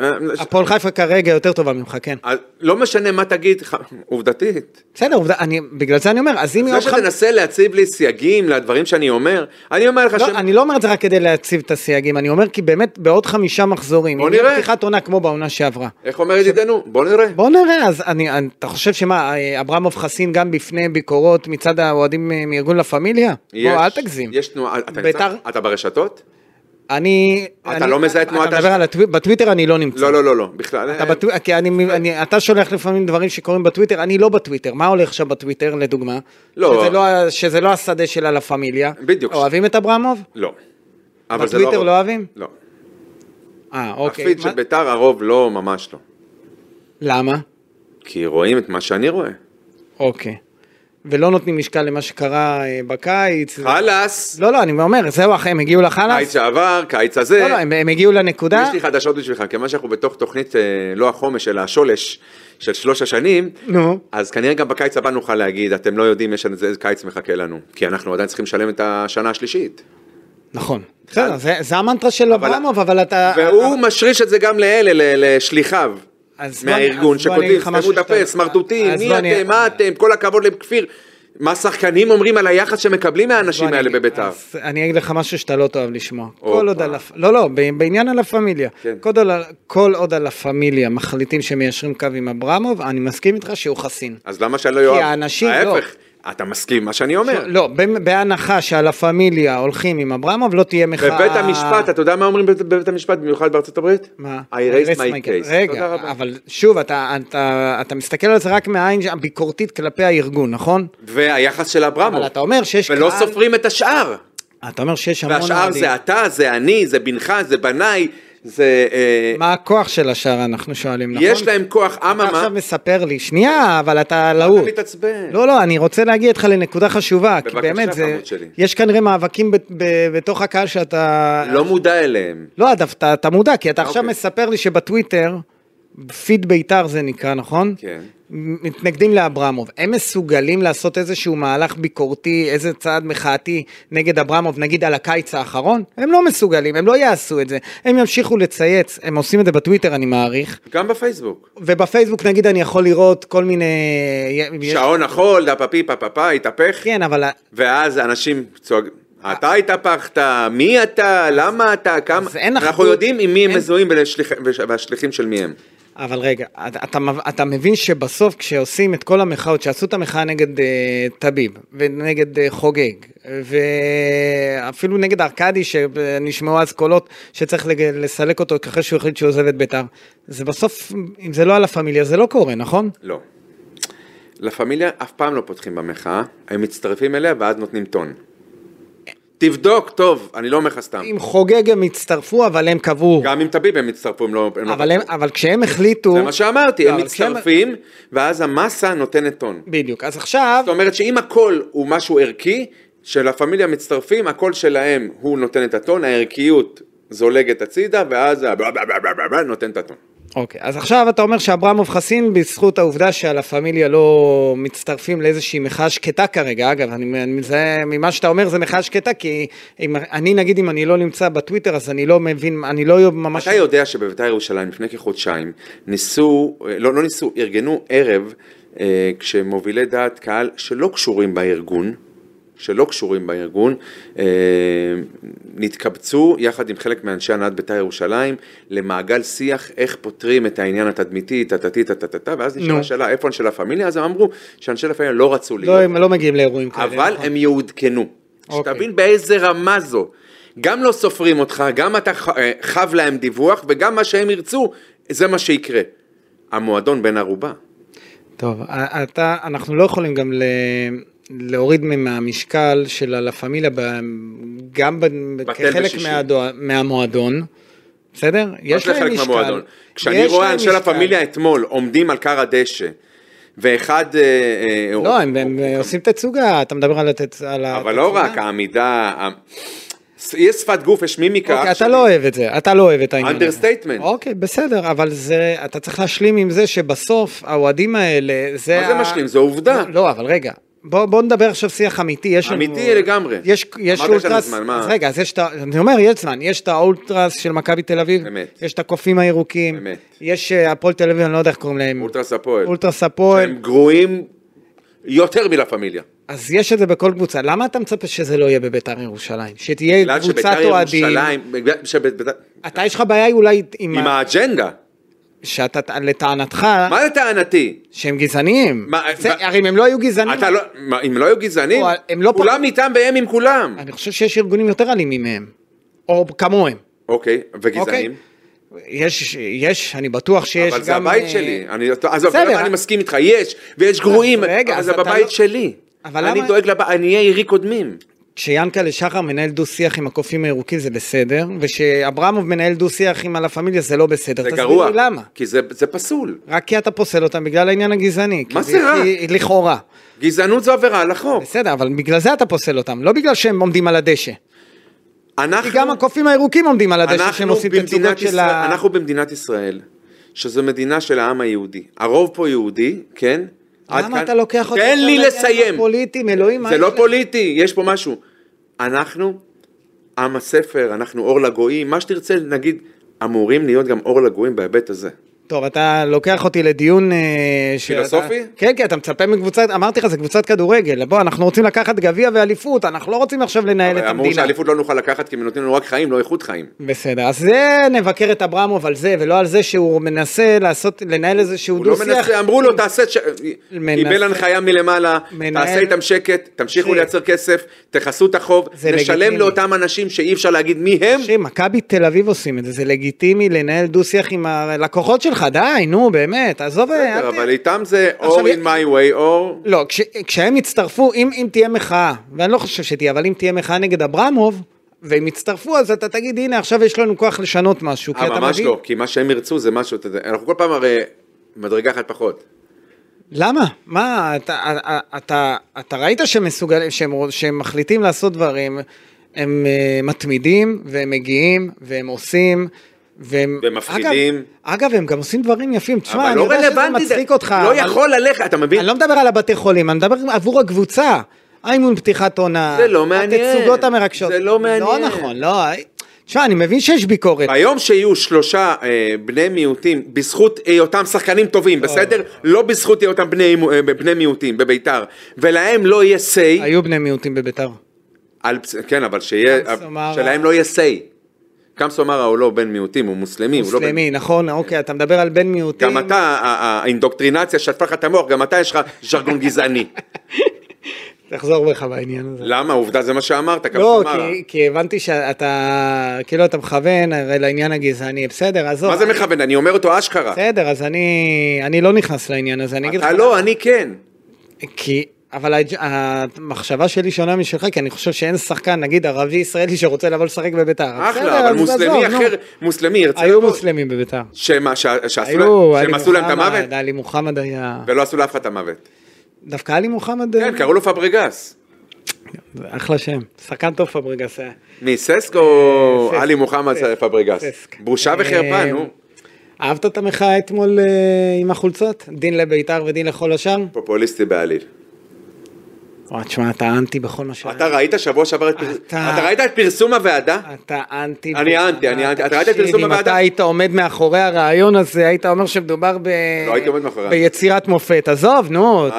אה,
הפועל חיפה כרגע יותר טובה ממך, כן.
אז לא משנה מה תגיד, ח- עובדתית.
בסדר, עובדה, אני, בגלל זה אני אומר, אז אם יום
זה שתנסה להציב לי סייגים לדברים שאני אומר, אני אומר לך ש...
לא, אני לא אומר את זה רק כדי להציב את הסייגים, אני אומר כי באמת בעוד חמישה מחזורים,
בוא
אם יהיה
נראה.
פתיחת עונה כמו בעונה שעברה.
איך אומר ידידנו? בוא נראה.
בוא נראה, אז אני, אני- אתה חושב שמה, אה, אברמוב חסין גם בפני ביקורות מצד האוהדים אה, מארגון לה פמיליה?
יש-
בוא, אל תגזים.
יש תנועה, אתה
בית"ר-
נמצא? אתה ברשתות?
אני...
אתה
אני-
לא מזהה את תנועת
אתה
הש-
מדבר על הטוו- בטוויטר אני לא נמצא.
לא, לא, לא, לא, בכלל.
אתה, בטו... כי אני, אני, אתה שולח לפעמים דברים שקורים בטוויטר, אני לא בטוויטר, מה הולך שם בטוויטר לדוגמה?
לא.
שזה לא, ה- שזה לא השדה של הלה פמיליה.
בדיוק.
אוהבים את אברמוב?
לא. אבל זה
בטוויטר
הרוב.
לא אוהבים?
לא.
אה, אוקיי.
הפיד
מה-
של ביתר הרוב לא, ממש לא.
למה?
כי רואים את מה שאני רואה.
לא, אוקיי. ולא נותנים משקל למה שקרה אה, בקיץ.
חלאס,
לא, לא, אני אומר, זהו, אחי, הם הגיעו לחלאס.
קיץ שעבר, קיץ הזה.
לא, לא, הם, הם הגיעו לנקודה.
אה, יש לי חדשות בשבילך, כיוון שאנחנו בתוך תוכנית, אה, לא החומש, אלא השולש של שלוש השנים,
נו.
אז כנראה גם בקיץ הבא נוכל להגיד, אתם לא יודעים, יש איזה איזה קיץ מחכה לנו, כי אנחנו עדיין צריכים לשלם את השנה השלישית.
נכון. בסדר, זה, זה המנטרה של
אבל-
אברמוב, אבל אתה...
והוא משריש את זה גם לאלה, ל- לשליחיו.
אה, אז בוא-
מהארגון
אז בוא אני אגיד
שכותבים,
לך משהו
סתמו את
שאתה-
הפה, סמרטוטים,
אז
מי
בוא אני-
אתם, מה אתם, כל הכבוד לכפיר. מה שחקנים אומרים על היחס שמקבלים
בוא,
מהאנשים
לא, אני
האלה
אגיד-
בביתר?
אז אני אגיד לך משהו שאתה לא תאהב לשמוע. כל עוד
הופה.
על... הפ- לא, לא, ב- בעניין הלה פמיליה.
כן.
כל עוד על- כל עוד על הפמיליה מחליטים שמיישרים קו עם אברמוב, אני מסכים איתך שהוא חסין.
אז למה שאני לא אוהב?
האנשים- לא.
ההפך, אתה מסכים עם מה שאני אומר.
לא, ב- בהנחה שהלה פמיליה הולכים עם אברמוב, לא תהיה מחאה...
בבית המשפט, אתה יודע מה אומרים בבית- בבית המשפט, במיוחד בארצות הברית?
מה?
I raised
erase
my
my case.
case. תודה
רגע,
רבה.
אבל שוב, אתה, אתה, אתה מסתכל על זה רק מהעין הביקורתית כלפי הארגון, נכון?
והיחס של
אבל
אברמוב.
אתה לא אומר שיש
לא. ולא סופרים את השאר.
אתה אומר שיש המון
והשאר
אוהדים.
זה אתה, זה אני, זה בנך, זה בניי, זה... אה,
מה הכוח של השאר, אנחנו שואלים, נכון?
יש להם כוח,
אתה
אממה,
עכשיו מספר לי, שנייה, אבל אתה להוט.
מתעצבן.
לא, לא, אני רוצה להגיע איתך לנקודה חשובה, כי
בבקשה,
באמת, זה,
חמוד שלי.
יש כנראה מאבקים ב, ב, בתוך הקהל שאתה...
לא מודע אליהם.
לא, אתה, אתה, אתה מודע, כי אתה עכשיו
אוקיי.
מספר לי שבטוויטר, פיד בית"ר זה נקרא, נכון?
כן.
מתנגדים לאברמוב. הם מסוגלים לעשות איזשהו מהלך ביקורתי, איזה צעד מחאתי נגד אברמוב, נגיד על הקיץ האחרון? הם לא מסוגלים, הם לא יעשו את זה. הם ימשיכו לצייץ, הם עושים את זה בטוויטר, אני מעריך.
גם בפייסבוק.
ובפייסבוק, נגיד, אני יכול לראות כל מיני... יש-
שעון החול, דפפי פפפה, התהפך,
כן, אה. אבל...
ואז אנשים צועקים, אתה התהפכת, מי אתה, למה אתה, כמה,
אז אין
אנחנו
אחדות,
יודעים עם מי הם
אין-
מזוהים ולשליח- וש- והשליחים של מי הם.
אבל רגע, אתה, אתה, מב- אתה מבין שבסוף כשעושים את כל המחאות, שעשו את המחאה נגד אה, טביב, ונגד אה, חוגג, ואפילו נגד ארכדי, שנשמעו אז קולות שצריך לג- לסלק אותו אחרי שהוא החליט שהוא עוזב את בית"ר, זה בסוף, אם זה לא על הפמיליה, זה לא קורה, נכון?
לא. לה פמיליה אף פעם לא פותחים במחאה, הם מצטרפים אליה ואז נותנים טון. תבדוק, טוב, אני לא אומר לך סתם.
עם חוגג הם הצטרפו, אבל הם קבעו.
גם עם טביב הם הצטרפו, הם לא... הם לא
אבל, הם, אבל כשהם החליטו...
זה מה שאמרתי, הם
אבל כשהם-
מצטרפים, ואז המסה נותנת טון.
בדיוק, אז עכשיו...
זאת אומרת שאם הכל הוא משהו ערכי, שלה פמיליה מצטרפים, הקול שלהם הוא נותן את הטון, הערכיות זולגת הצידה, ואז ה- נותן את הטון.
אוקיי, אז עכשיו אתה אומר שאברמוב חסין בזכות העובדה שהלה פמיליה לא מצטרפים לאיזושהי מחאה שקטה כרגע, אגב, אני, אני מזהה, ממה שאתה אומר זה מחאה שקטה, כי אם, אני נגיד אם אני לא נמצא בטוויטר אז אני לא מבין, אני לא ממש...
אתה יודע שבבית"ר ירושלים לפני כחודשיים ניסו, אה, לא, לא ניסו, ארגנו ערב אה, כשמובילי דעת קהל שלא קשורים בארגון, שלא קשורים בארגון, אה, נתקבצו יחד עם חלק מאנשי הנהלת בית"ר ירושלים למעגל שיח איך פותרים את העניין התדמיתי, טטטי, טטטטה, ואז נשאלה
נו.
השאלה איפה אנשי לה פמיליה, אז הם אמרו שאנשי לה פמיליה לא רצו להיות.
לא, הם לא מגיעים לאירועים כאלה.
אבל
נכון.
הם יעודכנו.
אוקיי.
שתבין באיזה רמה זו. גם לא סופרים אותך, גם אתה ח- אה, חב להם דיווח, וגם מה שהם ירצו, זה מה שיקרה. המועדון בן ערובה.
טוב, א- אתה, אנחנו לא יכולים גם ל... להוריד מהמשקל של הלה פמיליה ב... גם ב... כחלק
בשישי.
מהדוע... מהמועדון, בסדר? יש
מה זה
להם
חלק
משקל.
מהמועדון? כשאני
יש
רואה
להם
אנשי לה
משקל.
פמיליה אתמול עומדים על כר הדשא, ואחד... אה, אה, הוא-
לא, הם, הם
הוא-
עושים תצוגה, אתה מדבר על, התצ... על התצוגה. אוקיי,
אבל לא רק, העמידה... ה- יש שפת גוף, יש מימיקה.
אוקיי, אתה
שאני-
לא אוהב את זה, אתה לא אוהב את העניין הזה.
Understatement.
אוקיי, בסדר, אבל זה, אתה צריך להשלים עם זה שבסוף האוהדים האלה, זה...
מה זה
ה-
משלים? זו עובדה.
לא, אבל רגע. בוא, בוא נדבר עכשיו שיח אמיתי, יש לנו...
אמיתי לגמרי.
יש, יש
אמרת יש לנו
אולטרס,
זמן, מה?
אז רגע, אז יש את ה... אני אומר, יש זמן, יש את האולטרס של מכבי תל אביב,
אמת.
יש את הקופים הירוקים,
אמת.
יש אה, הפועל תל אביב, אני לא יודע איך קוראים להם,
אולטרס הפועל.
אולטרס הפועל,
הם גרועים יותר מלה פמיליה.
אז יש את זה בכל קבוצה, למה אתה מצפה שזה לא יהיה בביתר ירושלים? שתהיה
בגלל
קבוצת
שביתר
אוהדים,
ירושלים, בגלל שביתר-
אתה יש לך בעיה אולי עם,
עם
ה...
האג'נדה.
שאתה לטענתך,
מה לטענתי?
שהם גזעניים,
מה,
זה,
מה-
הרי אם הם לא היו גזענים,
אתה לא, מה, הם לא היו גזענים?
לא, הם לא
כולם
פחות-
איתם והם עם כולם.
אני חושב שיש ארגונים יותר אלימים מהם, או כמוהם,
אוקיי, וגזענים?
יש, יש, אני בטוח שיש גם,
אבל זה הבית
אה,
שלי. אני- עזוב,
בסדר,
אני
אה.
מסכים איתך, יש, ויש גרועים,
רגע,
אבל
אז
זה
אתה
בבית
לא-
שלי.
אבל
אני
למה-
דואג לבית, עניי עירי קודמים.
כשיענקלה שחר מנהל דו-שיח עם הקופים הירוקים זה בסדר, ושאברמוב מנהל דו-שיח עם הלה פמיליה זה לא בסדר.
זה
תסביר
גרוע.
לי למה.
כי זה זה פסול.
רק כי אתה פוסל אותם בגלל העניין הגזעני. כי
מה זה רע?
כי- לכאורה.
גזענות זו עבירה על החוק.
בסדר, אבל בגלל זה אתה פוסל אותם, לא בגלל שהם עומדים על הדשא. כי
אנחנו...
גם הקופים הירוקים עומדים על הדשא שהם
אנחנו
עושים את
במדינת
התצוגות של
ישראל,
ה...
אנחנו במדינת ישראל, שזו מדינה של העם היהודי. הרוב פה יהודי, כן? עד
למה
כאן-
אתה לוקח אותי
תן
עכשיו
לי
לעניין
לסיים.
הפוליטיים, אלוהים, מה
זה
יש
לא
לך?
פוליטי, יש פה משהו. אנחנו עם הספר, אנחנו אור לגויים, מה שתרצה נגיד, אמורים להיות גם אור לגויים בהיבט הזה.
טוב, אתה לוקח אותי לדיון... אה, שאתה-
פילוסופי?
כן, כן, אתה מצפה מקבוצת, אמרתי לך, זה קבוצת כדורגל. בוא, אנחנו רוצים לקחת גביע ואליפות, אנחנו לא רוצים עכשיו לנהל את
אבל אמרו
המדינה.
שאליפות לא נוכל לקחת כי הם נותנים לנו רק חיים, לא איכות חיים.
בסדר, אז זה נבקר את אברמוב על זה, ולא על זה שהוא מנסה לעשות, לנהל איזשהו
הוא לא
דו-שיח.
מנסה, אמרו לו תעשה, ש-
מנסה.
קיבל הנחיה מלמעלה,
מנהל-
תעשה איתם שקט, תמשיכו
תקשיב.
לייצר כסף, תכסו את החוב,
זה
נשלם
לגיטימי.
לאותם אנשים שאי אפשר להגיד מי הם,
תקשיב, מכבי תל אביב עושים את זה, זה לגיטימי לנהל דו-שיח עם הלקוחות שלך, די, נו, באמת, עזוב, אה, אל
בסדר,
ת-
אבל איתם זה
עכשיו,
or in my way or...
לא, כש, כשהם יצטרפו, אם, אם תהיה מחאה, ואני לא חושב שתהיה, אבל אם תהיה מחאה נגד אברמוב, והם יצטרפו, אז אתה תגיד, הנה, עכשיו יש לנו כוח לשנות משהו, כי
אה,
אתה
ממש
מבין...
לא, כי מה שהם ירצו זה משהו, אתה יודע, אנחנו כל פעם הרי מדרגה אחת פחות.
למה? מה, אתה, אתה, אתה, אתה ראית שהם מסוגלים, שהם, רוצ- שהם מחליטים לעשות דברים, הם uh, מתמידים, והם מגיעים, והם עושים, והם...
והם מפחידים.
אגב, אגב, הם גם עושים דברים יפים. תשמע,
אבל
אני
לא
יודע שזה
רלוונטי, זה-
מצחיק אותך.
לא
אבל-
יכול ללכת, אתה מבין?
אני לא מדבר על הבתי חולים, אני מדבר עבור הקבוצה. האימון פתיחת עונה,
זה לא מעניין.
התצוגות המרגשות.
זה לא מעניין. אה,
לא נכון, לא... תשמע, אני מבין שיש ביקורת.
ביום שיהיו שלושה אה, בני מיעוטים בזכות היותם שחקנים טובים, בסדר? לא בזכות היותם בני, אה, בני מיעוטים בביתר, ולהם לא יהיה say, לא
היו בני מיעוטים בביתר.
על, בס- כן, אבל שיהיה,
קאנסו, מה
שלהם
רע?
לא יהיה say. קמסו אמרה הוא לא בן מיעוטים, הוא מוסלמי, הוא לא בן...
מוסלמי, נכון, אוקיי, אתה מדבר על בן מיעוטים.
גם אתה, ה- ה- האינדוקטרינציה שטפה לך את המוח, גם אתה יש לך ז'רגון גזעני.
תחזור בך בעניין הזה.
למה? עובדה זה מה שאמרת, קמסו
לא,
אמרה.
כי- כי הבנתי שאתה, כאילו אתה מכוון הרי לעניין הגזעני, בסדר, עזוב.
מה זה מכוון? אני אומר אותו אשכרה.
לא. בסדר, אז אני אני לא נכנס לעניין הזה, אני אגיד לך...
אתה לא, אני כן.
כי, אבל הג- המחשבה שלי שונה משלך, כי אני חושב שאין שחקן, נגיד ערבי ישראלי שרוצה לבוא לשחק בביתר. בסדר,
אחלה, אבל
אז
מוסלמי
עזוב, נו.
אחר, מוסלמי ירצה...
היו
לבוא.
מוסלמים בביתר.
שמה, שה- שעשו
היו,
להם-
עלי
שהם עשו להם את המוות?
מוחמד, אה. עלי מוחמד היה...
ולא עשו לאף אחד את המוות.
דווקא עלי מוחמד,
כן, קראו לו פברגס.
זה אחלה שם, שחקן טוב פברגס היה.
מי, ססק או
ססק,
עלי מוחמד
ססק,
פברגס?
ססק.
בושה וחרפה,
אה,
נו.
אהבת את המחאה אתמול אה, עם החולצות? דין לביתר ודין לכל השאר?
פופוליסטי בעליל.
וואי, תשמע, אתה אנטי בכל מה ש...
אתה ראית שבוע שעבר את פרסום...
אתה-
אתה ראית את פרסום הוועדה?
אתה אנטי.
אני אנטי, אני אנטי. אתה ראית את
תקשיב, אם
פרסום הוועדה?
אתה היית עומד מאחורי הרעיון הזה, היית אומר שמדובר ב...
לא הייתי עומד מאחורי.
ביצירת מופת. עזוב, נו. אתה-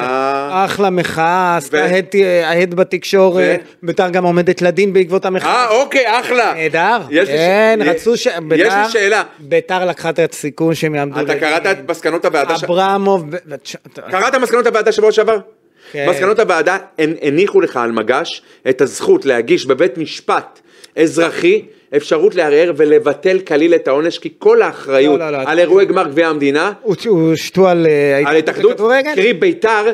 אה.
אחלה מחאה,
ו-
עשתה הד- ההד בתקשורת. בית"ר גם עומדת לדין בעקבות המחאה.
אה, אוקיי, אחלה.
נהדר.
יש לי ש-
כן,
י-
רצו ש...
יש
בית"ר-
לי שאלה.
בית"ר לקחה את הסיכון שהם יעמדו
אתה קראת את מסקנות הוועדה? ש-
אברמוב... ב- ב- ש-
קראת מסקנות הוועדה שבוע שעבר?
כן.
מסקנות הוועדה הנ- הניחו לך על מגש את הזכות להגיש בבית משפט אזרחי אפשרות לערער ולבטל כליל את העונש כי כל האחריות
לא, לא, לא.
על אירועי גמר גביע המדינה
הוא- הוא שתו על... אה,
על התאחדות,
הכדורגל?
קרי ביתר,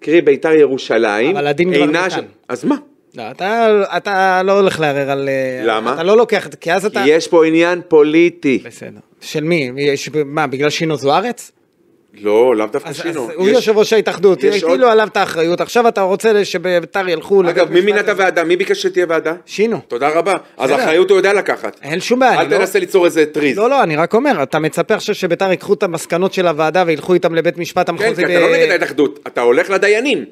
קרי ביתר ירושלים,
אבל הדין כבר
אינה
ניתן.
ש- אז מה?
לא, אתה, אתה לא הולך לערער על...
למה?
אתה לא לוקח, את- כי אז
כי
אתה...
יש פה עניין פוליטי.
בסדר. של מי? יש, מה, בגלל שינו זוארץ?
לא, לאו דווקא
אז, אז
שינו.
הוא
יש-
יושב ראש ההתאחדות,
יש
הטילו
עוד-
עליו את האחריות, עכשיו אתה רוצה שבית"ר ילכו...
אגב,
לבית
מי
משפט
מינה את
הזה?
הוועדה? מי ביקש שתהיה ועדה?
שינו.
תודה רבה. אז
בסדר.
אחריות הוא יודע לקחת.
אין שום בעיה. אני
אל
לא-
תנסה ליצור איזה טריז.
לא, לא, אני רק אומר, אתה מצפה עכשיו שבית"ר ייקחו את המסקנות של הוועדה וילכו איתם לבית משפט
כן,
המחוזי...
כי אתה
ב-
לא נגד ההתאחדות, אתה הולך לדיינים.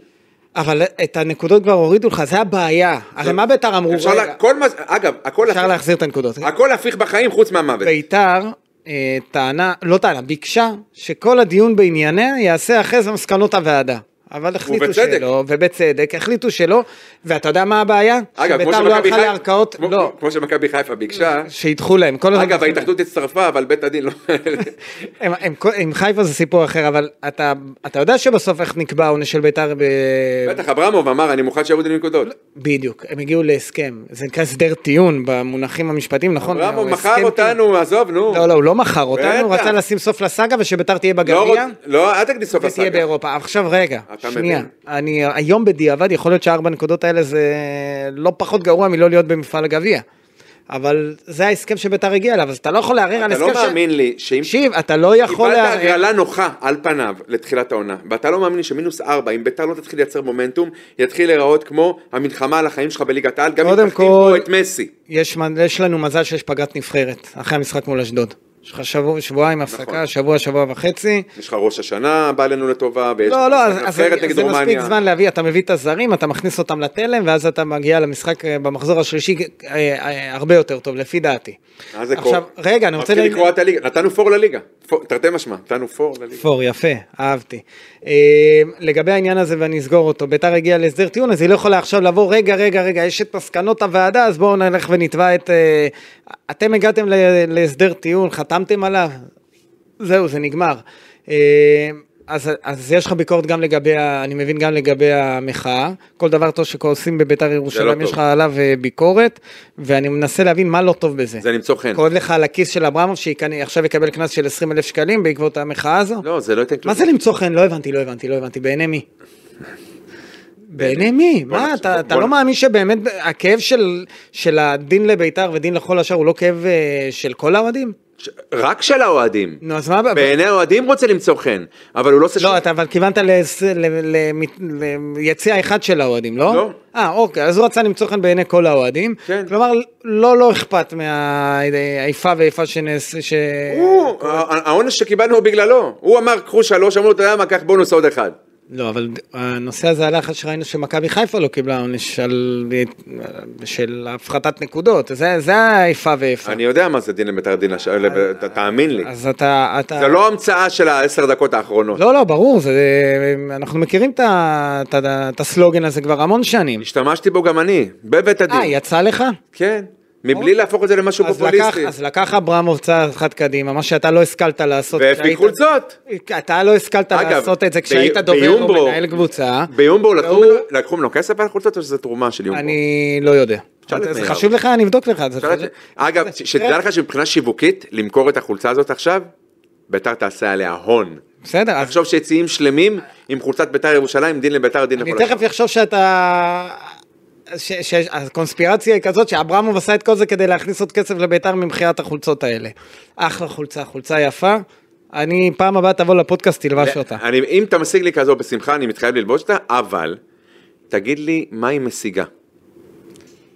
אבל את הנקודות כבר הורידו לך, זה הבעיה. הרי מה בית"ר אמרו?
לא, אפשר
רגע,
לה- כל מה... אגב, הכל
אפשר
הפיך-
להחזיר את הנקודות.
הכל הפיך בחיים חוץ מהמוות.
ביתר אה, טענה, לא טענה, ביקשה שכל הדיון בענייניה ייעשה אחרי זה מסקנות הוועדה. אבל החליטו
ובצדק.
שלא, ובצדק, החליטו שלא, ואתה יודע מה הבעיה?
אגב, כמו
שביתר לא
שמכבי
הלכה
חיפה-
לערכאות,
כמו-
לא,
כמו שמכבי חיפה ביקשה.
שידחו להם. כל הזמן-
אגב, ההתאחדות הצטרפה, אבל בית הדין לא...
הם, הם, עם חיפה זה סיפור אחר, אבל אתה, אתה יודע שבסוף איך נקבע העונש של ביתר ב...
בטח, אברמוב אמר, אני מוכן שיורידו לי
לא,
נקודות.
בדיוק, הם הגיעו להסכם, זה נקרא הסדר טיעון במונחים המשפטיים, נכון?
אברמוב
הוא
מכר
הסכם טיעון.
אותנו, עזוב, נו.
לא, לא, הוא לא מכר אותנו,
בטח.
רצה לשים סוף לסאגה ושביתר תהיה
לא
בגביע.
רוצ- לא, אל תגיד סוף
ותהיה
הסאגה.
באירופה. עכשיו רגע,
אתה
שנייה.
מבין.
אני היום בדיעבד, יכול להיות שהארבע הנקודות האלה זה לא פחות גרוע מלא להיות במפעל הגביע. אבל זה ההסכם שביתר הגיע אליו, אז אתה לא יכול לערער על
אתה
הסכם
לא מאמין לי שאם...
תקשיב, אתה לא יכול
קיבלת
לערער.
הגרלה נוחה על פניו לתחילת העונה, ואתה לא מאמין לי שמינוס ארבע, אם ביתר לא תתחיל לייצר מומנטום, יתחיל להיראות כמו המלחמה על החיים שלך בליגת העל, גם אם
קודם
תחתים פה
כל-
את מסי.
יש, מ- יש לנו מזל שיש פגרת נבחרת, אחרי המשחק מול אשדוד. יש לך שבוע, שבועיים
נכון.
הפסקה, שבוע, שבוע וחצי.
יש לך ראש השנה בא לנו לטובה, ויש
לא, לא, אז,
לך
אז
נבחרת נגד
זה מספיק
רומניה.
זמן להביא, אתה מביא את הזרים, אתה מכניס אותם לתלם, ואז אתה מגיע למשחק אה, במחזור השלישי אה, אה, הרבה יותר טוב, לפי דעתי.
מה זה
עכשיו,
קורה?
רגע, אני רוצה
מתחיל
להגיד-
לקרוע את הליגה, נתנו פור לליגה, פור- תרתי משמע, נתנו פור לליגה.
פור, יפה, אהבתי. אה, לגבי העניין הזה, ואני אסגור אותו, ביתר הגיעה להסדר טיעון, אז היא לא יכולה עכשיו לבוא, רגע, רגע, רגע, יש את מסקנות הוועדה, אז בואו נלך ונתבע את... אה, אתם הגעתם ל- להסדר טיעון, חתמתם עליו, זהו, זה נגמר. אה, אז, אז יש לך ביקורת גם לגבי, ה- אני מבין גם לגבי המחאה, כל דבר טוב שעושים בביתר ירושלים, יש
לא טוב.
לך עליו אה, ביקורת, ואני מנסה להבין מה לא טוב בזה.
זה למצוא חן.
קורא לך על הכיס של אברמוב, שעכשיו יקבל קנס של 20 אלף שקלים בעקבות המחאה הזו?
לא, זה לא ייתן כלום.
מה זה למצוא חן? לא הבנתי, לא הבנתי, לא הבנתי. בעיני מי? בעיני מי?
בוא
מה,
נחשוב,
אתה,
בוא
אתה לא
נ-
מאמין שבאמת הכאב של, של הדין לביתר ודין לכל השאר הוא לא כאב אה, של כל האוהדים?
ש- רק של האוהדים.
נו, אז מה... הבעיה?
בעיני האוהדים רוצה למצוא חן, אבל הוא לא עושה
לא, אתה אבל כיוונת לס- ל- ל- ל- ליציע אחד של האוהדים, לא?
לא.
אה, אוקיי, אז הוא רצה למצוא חן בעיני כל האוהדים.
כן.
כלומר, לא, לא אכפת מהאיפה ואיפה שנעשה, ש...
הוא- הע- העונש שקיבלנו הוא בגללו. הוא אמר קחו שלוש, אמרו לו אתה יודע מה, קח בונוס עוד אחד.
לא, אבל הנושא הזה עלה אחרי שראינו שמכבי חיפה לא קיבלה עונש על... של הפחתת נקודות, זה, זה האיפה ואיפה.
אני יודע מה זה דין לביתר דין השאר, תאמין לי.
אז אתה... אתה...
זה לא המצאה של העשר דקות האחרונות.
לא, לא, ברור, זה... אנחנו מכירים את ה- את ה- את הסלוגן הזה כבר המון שנים.
השתמשתי בו גם אני, בבית
אה,
הדין.
יצא לך?
כן. מבלי להפוך את זה למשהו
אז לקח,
פופוליסטי.
אז לקח אברמוב צעד אחד קדימה, מה שאתה לא השכלת לעשות.
והפיק
כשהיית-
חולצות.
אתה לא השכלת
אגב,
לעשות את זה
ב-
כשהיית דובר
ביומבו-
או מנהל קבוצה.
ביומבו לקחו
והוא-
לקחו ממנו כסף על חולצות או שזה תרומה של יומבו?
אני לא יודע.
שאל את
זה
מאיר.
חשוב לך? אני אבדוק לך. זה
אפשר
חשוב-
לדעת- אגב, ש- שתדע לך שמבחינה שיווקית, למכור את החולצה הזאת עכשיו, ביתר תעשה עליה הון.
בסדר, אז
תחשוב שיציעים שלמים עם חולצת ביתר ירושלים, דין לביתר, דין
אני
לכל
תכף אחשוב שאתה... ש- ש- שהקונספירציה היא כזאת שאברמוב עשה את כל זה כדי להכניס עוד כסף לביתר ממכירת החולצות האלה. אחלה חולצה, חולצה יפה. אני פעם הבאה תבוא לפודקאסט תלבש אותה.
אני, אם אתה משיג לי כזו בשמחה, אני מתחייב ללבוש אותה, אבל תגיד לי, מה היא משיגה?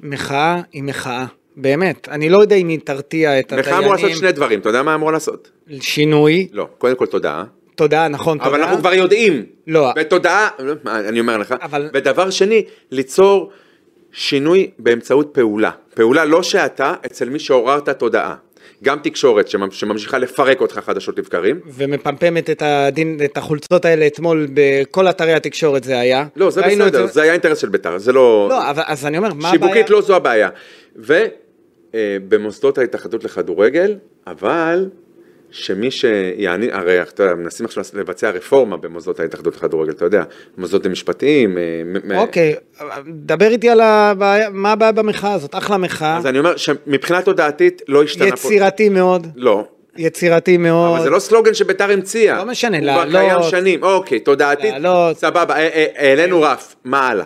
מחאה היא מחאה, באמת. אני לא יודע אם היא תרתיע את
לך אמור לעשות
הדיינים.
שני דברים, אתה יודע מה אמור לעשות?
שינוי.
לא, קודם כל תודה,
תודה, נכון, תודה.
אבל אנחנו כבר יודעים.
לא.
ותודעה, אני אומר לך.
אבל-
ודבר שני, ליצור שינוי באמצעות פעולה. פעולה לא שאתה, אצל מי שעוררת תודעה. גם תקשורת שממ- שממשיכה לפרק אותך חדשות לבקרים.
ומפמפמת את, הדין, את החולצות האלה אתמול בכל אתרי התקשורת זה היה.
לא, זה
ראינו את
בסדר, זה היה אינטרס של בית"ר, זה לא...
לא, אבל, אז אני אומר, מה הבעיה?
שיווקית לא זו הבעיה. ובמוסדות ההתאחדות לכדורגל, אבל שמי שיעני, הרי אתה יודע, מנסים עכשיו לבצע רפורמה במוסדות ההתאחדות לכדורגל, אתה יודע, מוסדות למשפטים. אה, מ- מ-
אוקיי, דבר איתי על הבעיה, מה הבעיה במחאה הזאת, אחלה מחאה,
אז אני אומר שמבחינה תודעתית לא השתנה פה.
יצירתי מאוד,
לא.
יצירתי מאוד.
אבל זה לא סלוגן שביתר המציאה.
לא משנה,
הוא כבר
לעלות.
קיים שנים. אוקיי, תודעתית.
לעלות.
סבבה, אה, אה, העלינו רף, מה הלאה?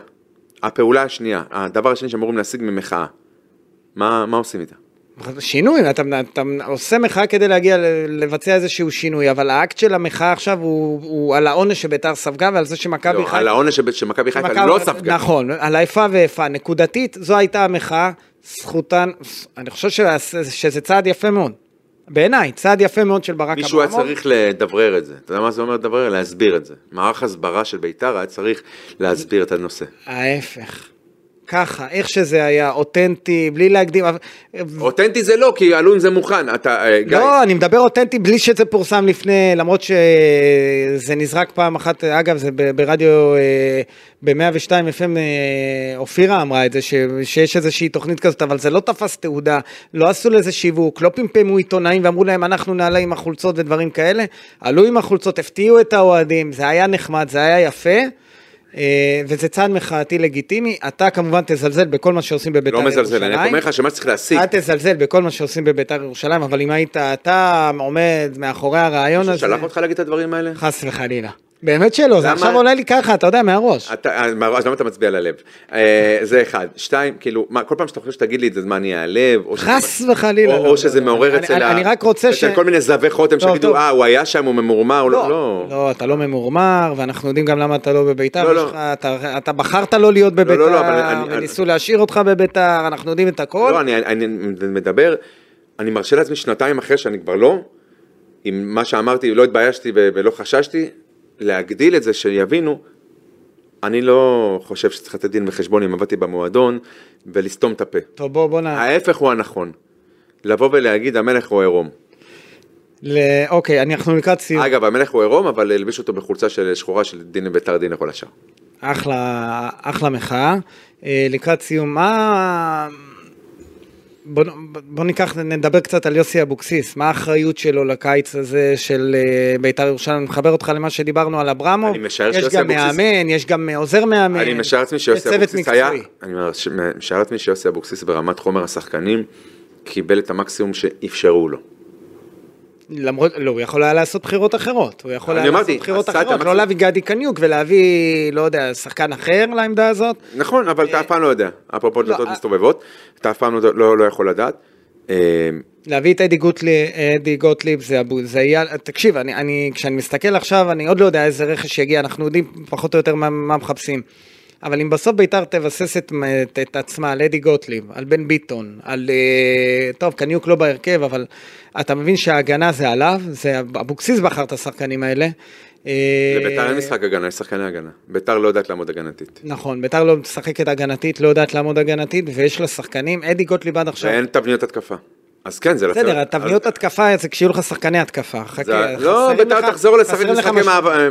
הפעולה השנייה, הדבר השני שאמורים להשיג ממחאה. מה מה עושים איתה?
שינוי, אתה, אתה עושה מחאה כדי להגיע ל- לבצע איזשהו שינוי, אבל האקט של המחאה עכשיו הוא, הוא על העונש שביתר ספגה ועל זה שמכבי
לא,
חיפה...
על העונש שב- שמכבי חיפה
מכבי-
לא ספגה.
נכון, על האיפה ואיפה. נקודתית, זו הייתה המחאה, זכותן, אני חושב שזה, שזה צעד יפה מאוד. בעיניי, צעד יפה מאוד של ברק אברמוב.
מישהו היה צריך לדברר את זה. אתה יודע מה זה אומר לדברר? להסביר את זה. מערך הסברה של ביתר היה צריך להסביר את הנושא.
ההפך. ככה, איך שזה היה, אותנטי, בלי להקדים. אבל-
אותנטי זה לא, כי עלו עם זה מוכן. אתה, אה, גיא,
לא, אני מדבר אותנטי בלי שזה פורסם לפני, למרות שזה נזרק פעם אחת, אגב, זה ב- ברדיו, אה, ב-102 FM, אה, אופירה אמרה את זה, ש- שיש איזושהי תוכנית כזאת, אבל זה לא תפס תעודה, לא עשו לזה שיווק, לא פמפמו עיתונאים ואמרו להם, אנחנו נעלה עם החולצות ודברים כאלה, עלו עם החולצות, הפתיעו את האוהדים, זה היה נחמד, זה היה יפה. אה, וזה צעד מחאתי לגיטימי, אתה כמובן תזלזל בכל מה שעושים בבית"ר
לא
ירושלים.
מזלזל. אני רק אומר לך שמה שצריך להשיג,
אל תזלזל בכל מה שעושים בביתר ירושלים, אבל אם היית אתה עומד מאחורי הרעיון הזה,
שלח אותך להגיד את הדברים האלה?
חס וחלילה. באמת שלא, זה
למה?
עכשיו עולה לי ככה, אתה יודע, מהראש.
אתה, אה, מה- אז למה אתה מצביע ללב? אה, זה אחד. שתיים, כאילו, מה, כל פעם שאתה חושב שתגיד לי את זה, אז מה, אני אעלב? או
חס
שזה-
וחלילה,
או-
לא,
או
לא,
שזה
לא.
מעורר
אני-
אצל
אני-
ה-
אני רק רוצה
אצל
ש-
כל מיני זבי חותם
לא,
שיגידו,
טוב.
אה, הוא היה שם, הוא ממורמר, הוא לא... לא.
לא, אתה לא ממורמר, ואנחנו יודעים גם למה אתה לא בביתר,
לא, לא.
יש לך- אתה- אתה בחרת לא להיות
לא, לא, אבל אני-
בביתר,
אני-
וניסו להשאיר אותך בביתר, אנחנו יודעים את הכל.
לא, אני, אני, אני מדבר, אני מרשה לעצמי שנתיים אחרי שאני כבר לא, עם מה שאמרתי, לא התביישתי ו- ולא חששתי, להגדיל את זה, שיבינו, אני לא חושב שצריך לתת דין וחשבון אם עבדתי במועדון, ולסתום את הפה.
טוב, בוא, בוא נ...
ההפך הוא הנכון, לבוא ולהגיד המלך הוא עירום.
ל- אוקיי, אנחנו לקראת סיום.
אגב, המלך הוא עירום, אבל הלביש אותו בחולצה של שחורה של דין ביתר דין לכל השאר.
אחלה, אחלה מחאה. אה, לקראת סיום, מה... בוא, נ- בוא ניקח, נדבר קצת על יוסי אבוקסיס, מה האחריות שלו לקיץ הזה של אה, בית"ר ירושלים, אני מחבר אותך למה שדיברנו על אברמוב,
אני משער
יש
שיוסי
גם
אבוקסיס-
מאמן, יש גם עוזר מאמן,
אני משער לעצמי
יש
שיוסי
צוות
אבוקסיס היה,
מקצועי.
אני משער לעצמי שיוסי אבוקסיס ברמת חומר השחקנים, קיבל את המקסימום שאפשרו לו.
למרות, לא, הוא יכול היה לעשות בחירות אחרות, הוא יכול
אני
היה לעשות
אמרתי,
בחירות
עשה את
אחרות, לא
המקסימום.
להביא גדי קניוק ולהביא, לא יודע, שחקן אחר לעמדה הזאת,
נכון, אבל אתה אף פעם לא יודע, אפרופו דלתות
אה-
מסתובבות, אתה אף פעם לא- לא לא יכול לדעת. אה,
להביא את אדי גוטליב, אדי גוטליב זה, אבו, זה יהיה, תקשיב, אני, אני, כשאני מסתכל עכשיו, אני עוד לא יודע איזה רכש יגיע, אנחנו יודעים פחות או יותר מה, מה מחפשים. אבל אם בסוף ביתר תבסס את, את, את עצמה על אדי גוטליב, על בן ביטון, על, אה, טוב, קניוק לא בהרכב, אבל אתה מבין שההגנה זה עליו, זה אבוקסיס בחר את השחקנים האלה. אה,
לביתר אין משחק הגנה, יש שחקני הגנה. ביתר לא יודעת לעמוד הגנתית.
נכון, ביתר לא משחקת הגנתית, לא יודעת לעמוד הגנתית, ויש לה שחקנים, אדי גוטליב עד עכשיו.
ואין תבניות התקפה. אז כן, זה...
בסדר,
אז-
התבניות התקפה זה כשיהיו לך שחקני התקפה. חכה,
זה-
חסרים
לא,
לך-
ביתר תחזור לשחק
חסרים לך
משחקי
משהו.
מעבר. אה,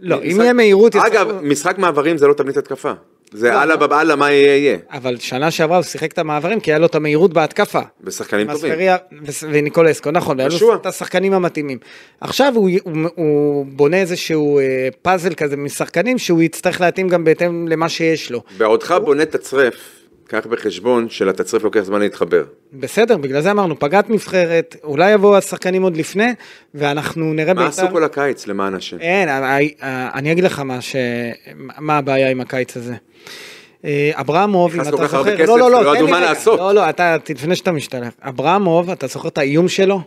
לא,
משחק-
אם יהיה מהירות,
אגב,
יצטרכו-
משחק מעברים זה לא תבנית התקפה. זה אללה בבאללה, מה יהיה יהיה.
אבל שנה שעברה הוא שיחק את המעברים, כי היה לו את המהירות בהתקפה.
בשחקנים טובים.
מספריה וס- וניקולסקו, נכון, והיו לו
שועה.
את השחקנים המתאימים. עכשיו הוא, הוא, הוא בונה איזשהו אה, פאזל כזה משחקנים שהוא יצטרך להתאים גם בהתאם למה שיש לו.
בעודך בונה תצרף, קח בחשבון שלתצרף לוקח זמן להתחבר.
בסדר, בגלל זה אמרנו, פגעת נבחרת, אולי יבואו השחקנים עוד לפני, ואנחנו נראה
מה עשו כל הקיץ למען השם?
אין, ה- ה- ה- אני אגיד לך מה, ש... מה הבעיה עם הקיץ הזה. אה, אברמוב, אם
נכנס
אתה
כל
זוכר,
כך הרבה כסף, לא
תן
ידעו
לי
מה
רגע.
לעשות.
לא, לא, אתה, לפני שאתה משתלח, אברמוב, אתה זוכר את האיום שלו?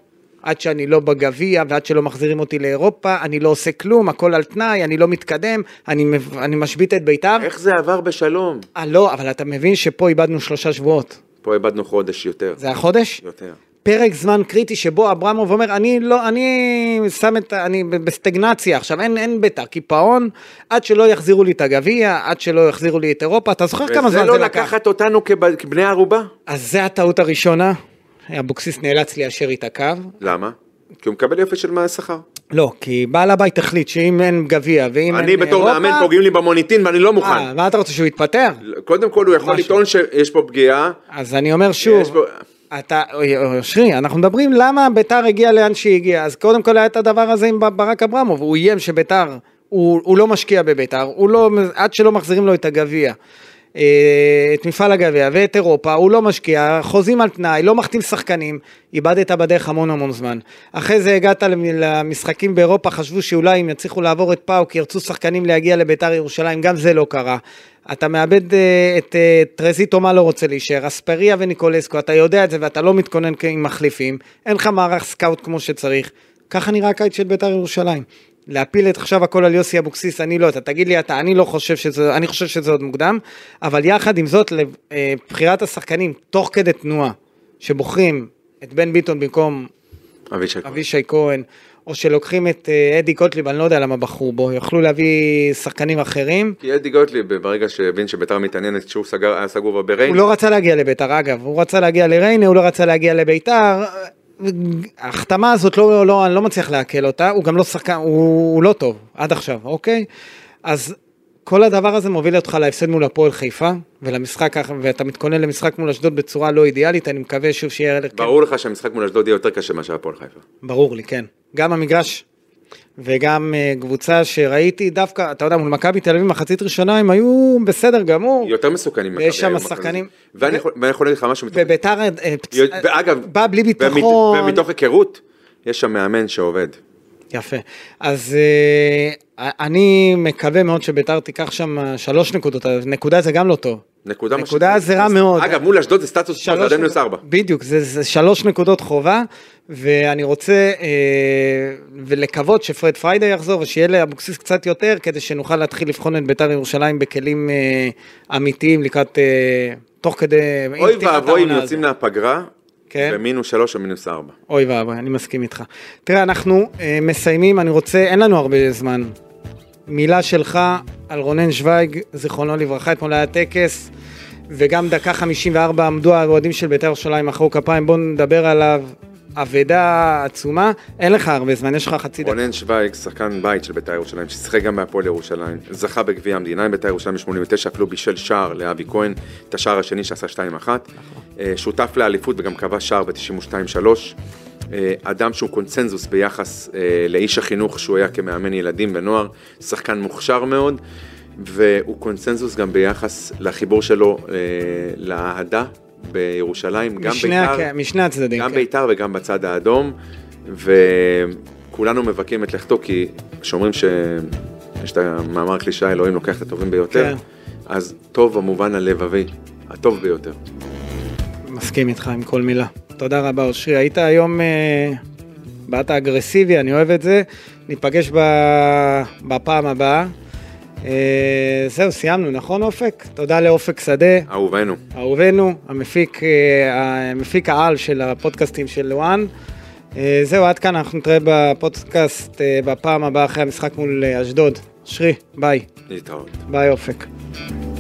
עד שאני לא בגביע ועד שלא מחזירים אותי לאירופה, אני לא עושה כלום, הכל על תנאי, אני לא מתקדם, אני, מב- אני משבית את בית"ר.
איך זה עבר בשלום?
אה, לא, אבל אתה מבין שפה איבדנו שלושה שבועות.
פה איבדנו חודש יותר.
זה החודש?
יותר.
פרק זמן קריטי שבו אברמוב אומר, אני לא, אני שם את, ה- אני ב- בסטגנציה עכשיו, אין, אין ביתר, קיפאון, עד שלא יחזירו לי את הגביע, עד שלא יחזירו לי את אירופה, אתה זוכר כמה
וזה
זמן
לא
זה לקח?
לקחת אותנו כב- כבני ערובה.
אז זה הטעות הראשונה, אבוקסיס נאלץ ליישר איתה קו.
למה? כי הוא מקבל יופי של מה- שכר.
לא, כי בעל הבית החליט שאם אין גביע ואם אין
אני
אירופה...
בתור מאמן פוגעים לי במוניטין ואני לא
אה,
מוכן.
מה אתה רוצה, שהוא יתפטר?
קודם כל הוא יכול
משהו.
לטעון שיש פה פגיעה.
אז אני אומר
יש
שוב,
בו-
אתה, אוי, אוי, אושרי, אנחנו מדברים למה ביתר הגיעה לאן שהיא הגיעה, אז קודם כל היה את הדבר הזה עם ברק אברמוב, הוא איים שביתר, הוא, הוא לא משקיע בביתר, הוא לא, עד שלא מחזירים לו את הגביע, אה, את מפעל הגביע ואת אירופה, הוא לא משקיע, חוזים על תנאי, לא מחתים שחקנים, איבדת בדרך המון המון זמן. אחרי זה הגעת למ- למשחקים באירופה, חשבו שאולי אם יצליחו לעבור את פאו, כי ירצו שחקנים להגיע לביתר ירושלים, גם זה לא קרה. אתה מאבד אה, את אה, טרזיטו, מה לא רוצה להישאר, אספריה וניקולסקו, אתה יודע את זה ואתה לא מתכונן כ- עם מחליפים, אין לך מערך סקאוט כמו שצריך. ככה נראה הקיץ של ביתר ירושלים. להפיל את עכשיו הכל על יוסי אבוקסיס, אני לא, אתה תגיד לי אתה, אני לא חושב שזה, אני חושב שזה עוד מוקדם, אבל יחד עם זאת, לבחירת השחקנים, תוך כדי תנועה, שבוחרים את בן ביטון במקום
אבישי כהן.
אבישי כהן, או שלוקחים את אה, אדי קוטליב, אני לא יודע למה בחרו בו, יכלו להביא שחקנים אחרים.
כי אדי גוטליב ברגע שהבין שביתר מתעניינת כשהוא סגר- היה סגור בבריינה.
הוא לא רצה להגיע לביתר, אגב, הוא רצה להגיע לריינה, הוא לא רצה להגיע לביתר. ההחתמה הזאת, לא, לא, אני לא מצליח לעכל אותה, הוא גם לא שחקן, הוא, הוא לא טוב, עד עכשיו, אוקיי? אז כל הדבר הזה מוביל אותך להפסד מול הפועל חיפה, ולמשחק, האח- ואתה מתכונן למשחק מול אשדוד בצורה לא אידיאלית, אני מקווה שוב שיהיה... כן,
ברור לך שהמשחק מול אשדוד יהיה יותר קשה מאשר הפועל חיפה.
ברור לי, כן. גם המגרש וגם אה, קבוצה שראיתי דווקא, אתה יודע, מול מכבי תל אביב מחצית ראשונה הם היו בסדר גמור.
יותר מסוכנים.
ויש שם
מכבי היום
שחקנים-
בחזית. ואני
ו-
יכול ואני יכול להגיד לך משהו. מתוך-
וביתר, אה, פצ-
יות- ואגב,
בא בלי
ומת-
ביטחון.
ומתוך היכרות, יש שם מאמן שעובד.
יפה. אז אה, אני מקווה מאוד שביתר תיקח שם שלוש נקודות, אז נקודה זה גם לא טוב.
נקודה מה
נקודה
שזה-
זה רע מאוד.
אגב, מול אשדוד זה סטטוס ספורט, זה
שלוש
עדיין מינוס
נקודות-
ארבע.
בדיוק, זה, זה שלוש נקודות חובה, ואני רוצה אה, ולקוות שפרד פריידה יחזור ושיהיה לאבוקסיס קצת יותר, כדי שנוכל להתחיל לבחון את בית"ר ירושלים בכלים אה, אמיתיים לקראת, אה, תוך כדי, עם
אוי
פתיחת
ואבוי אם
העונה
יוצאים
הזאת.
מהפגרה,
כן.
במינוס שלוש או מינוס ארבע.
אוי ואבוי, אני מסכים איתך. תראה, אנחנו אה, מסיימים, אני רוצה, אין לנו הרבה זמן. מילה שלך על רונן שוויג, זיכרונו לברכה, אתמול היה טקס, וגם דקה 54 עמדו האוהדים של בית"ר ירושלים, מחאו כפיים, בואו נדבר עליו. אבדה עצומה, אין לך הרבה זמן, יש לך חצי דקה.
רונן שווייג, שחקן בית של בית"ר ירושלים, ששיחק גם בהפועל ירושלים, זכה בגביע המדינה עם בית"ר ירושלים ב-89, אפילו בישל שער לאבי כהן, את השער השני שעשה 2-1. אה, שותף לאליפות וגם כבש שער ב-92-3. אה, אדם שהוא קונצנזוס ביחס אה, לאיש החינוך שהוא היה כמאמן ילדים ונוער, שחקן מוכשר מאוד, והוא קונצנזוס גם ביחס לחיבור שלו אה, לאהדה בירושלים, גם
משני
בית"ר.
הכ- משני הצדדים.
גם
כן.
בית"ר וגם בצד האדום, וכולנו מבכים את לכתו, כי שאומרים ש... יש את המאמר קלישאה, אלוהים לוקח את הטובים ביותר,
כן.
אז טוב במובן הלבבי, הטוב ביותר.
מסכים איתך עם כל מילה. תודה רבה אושרי, היית היום, אה, באת אגרסיבי, אני אוהב את זה. ניפגש ב... בפעם הבאה. אה, זהו, סיימנו, נכון אופק? תודה לאופק שדה,
אהובנו.
אהובנו, המפיק, אה, המפיק העל של הפודקאסטים של וואן. אה, זהו, עד כאן, אנחנו נתראה בפודקאסט אה, בפעם הבאה אחרי המשחק מול אה, אשדוד. אושרי, ביי,
להתראות.
ביי אופק.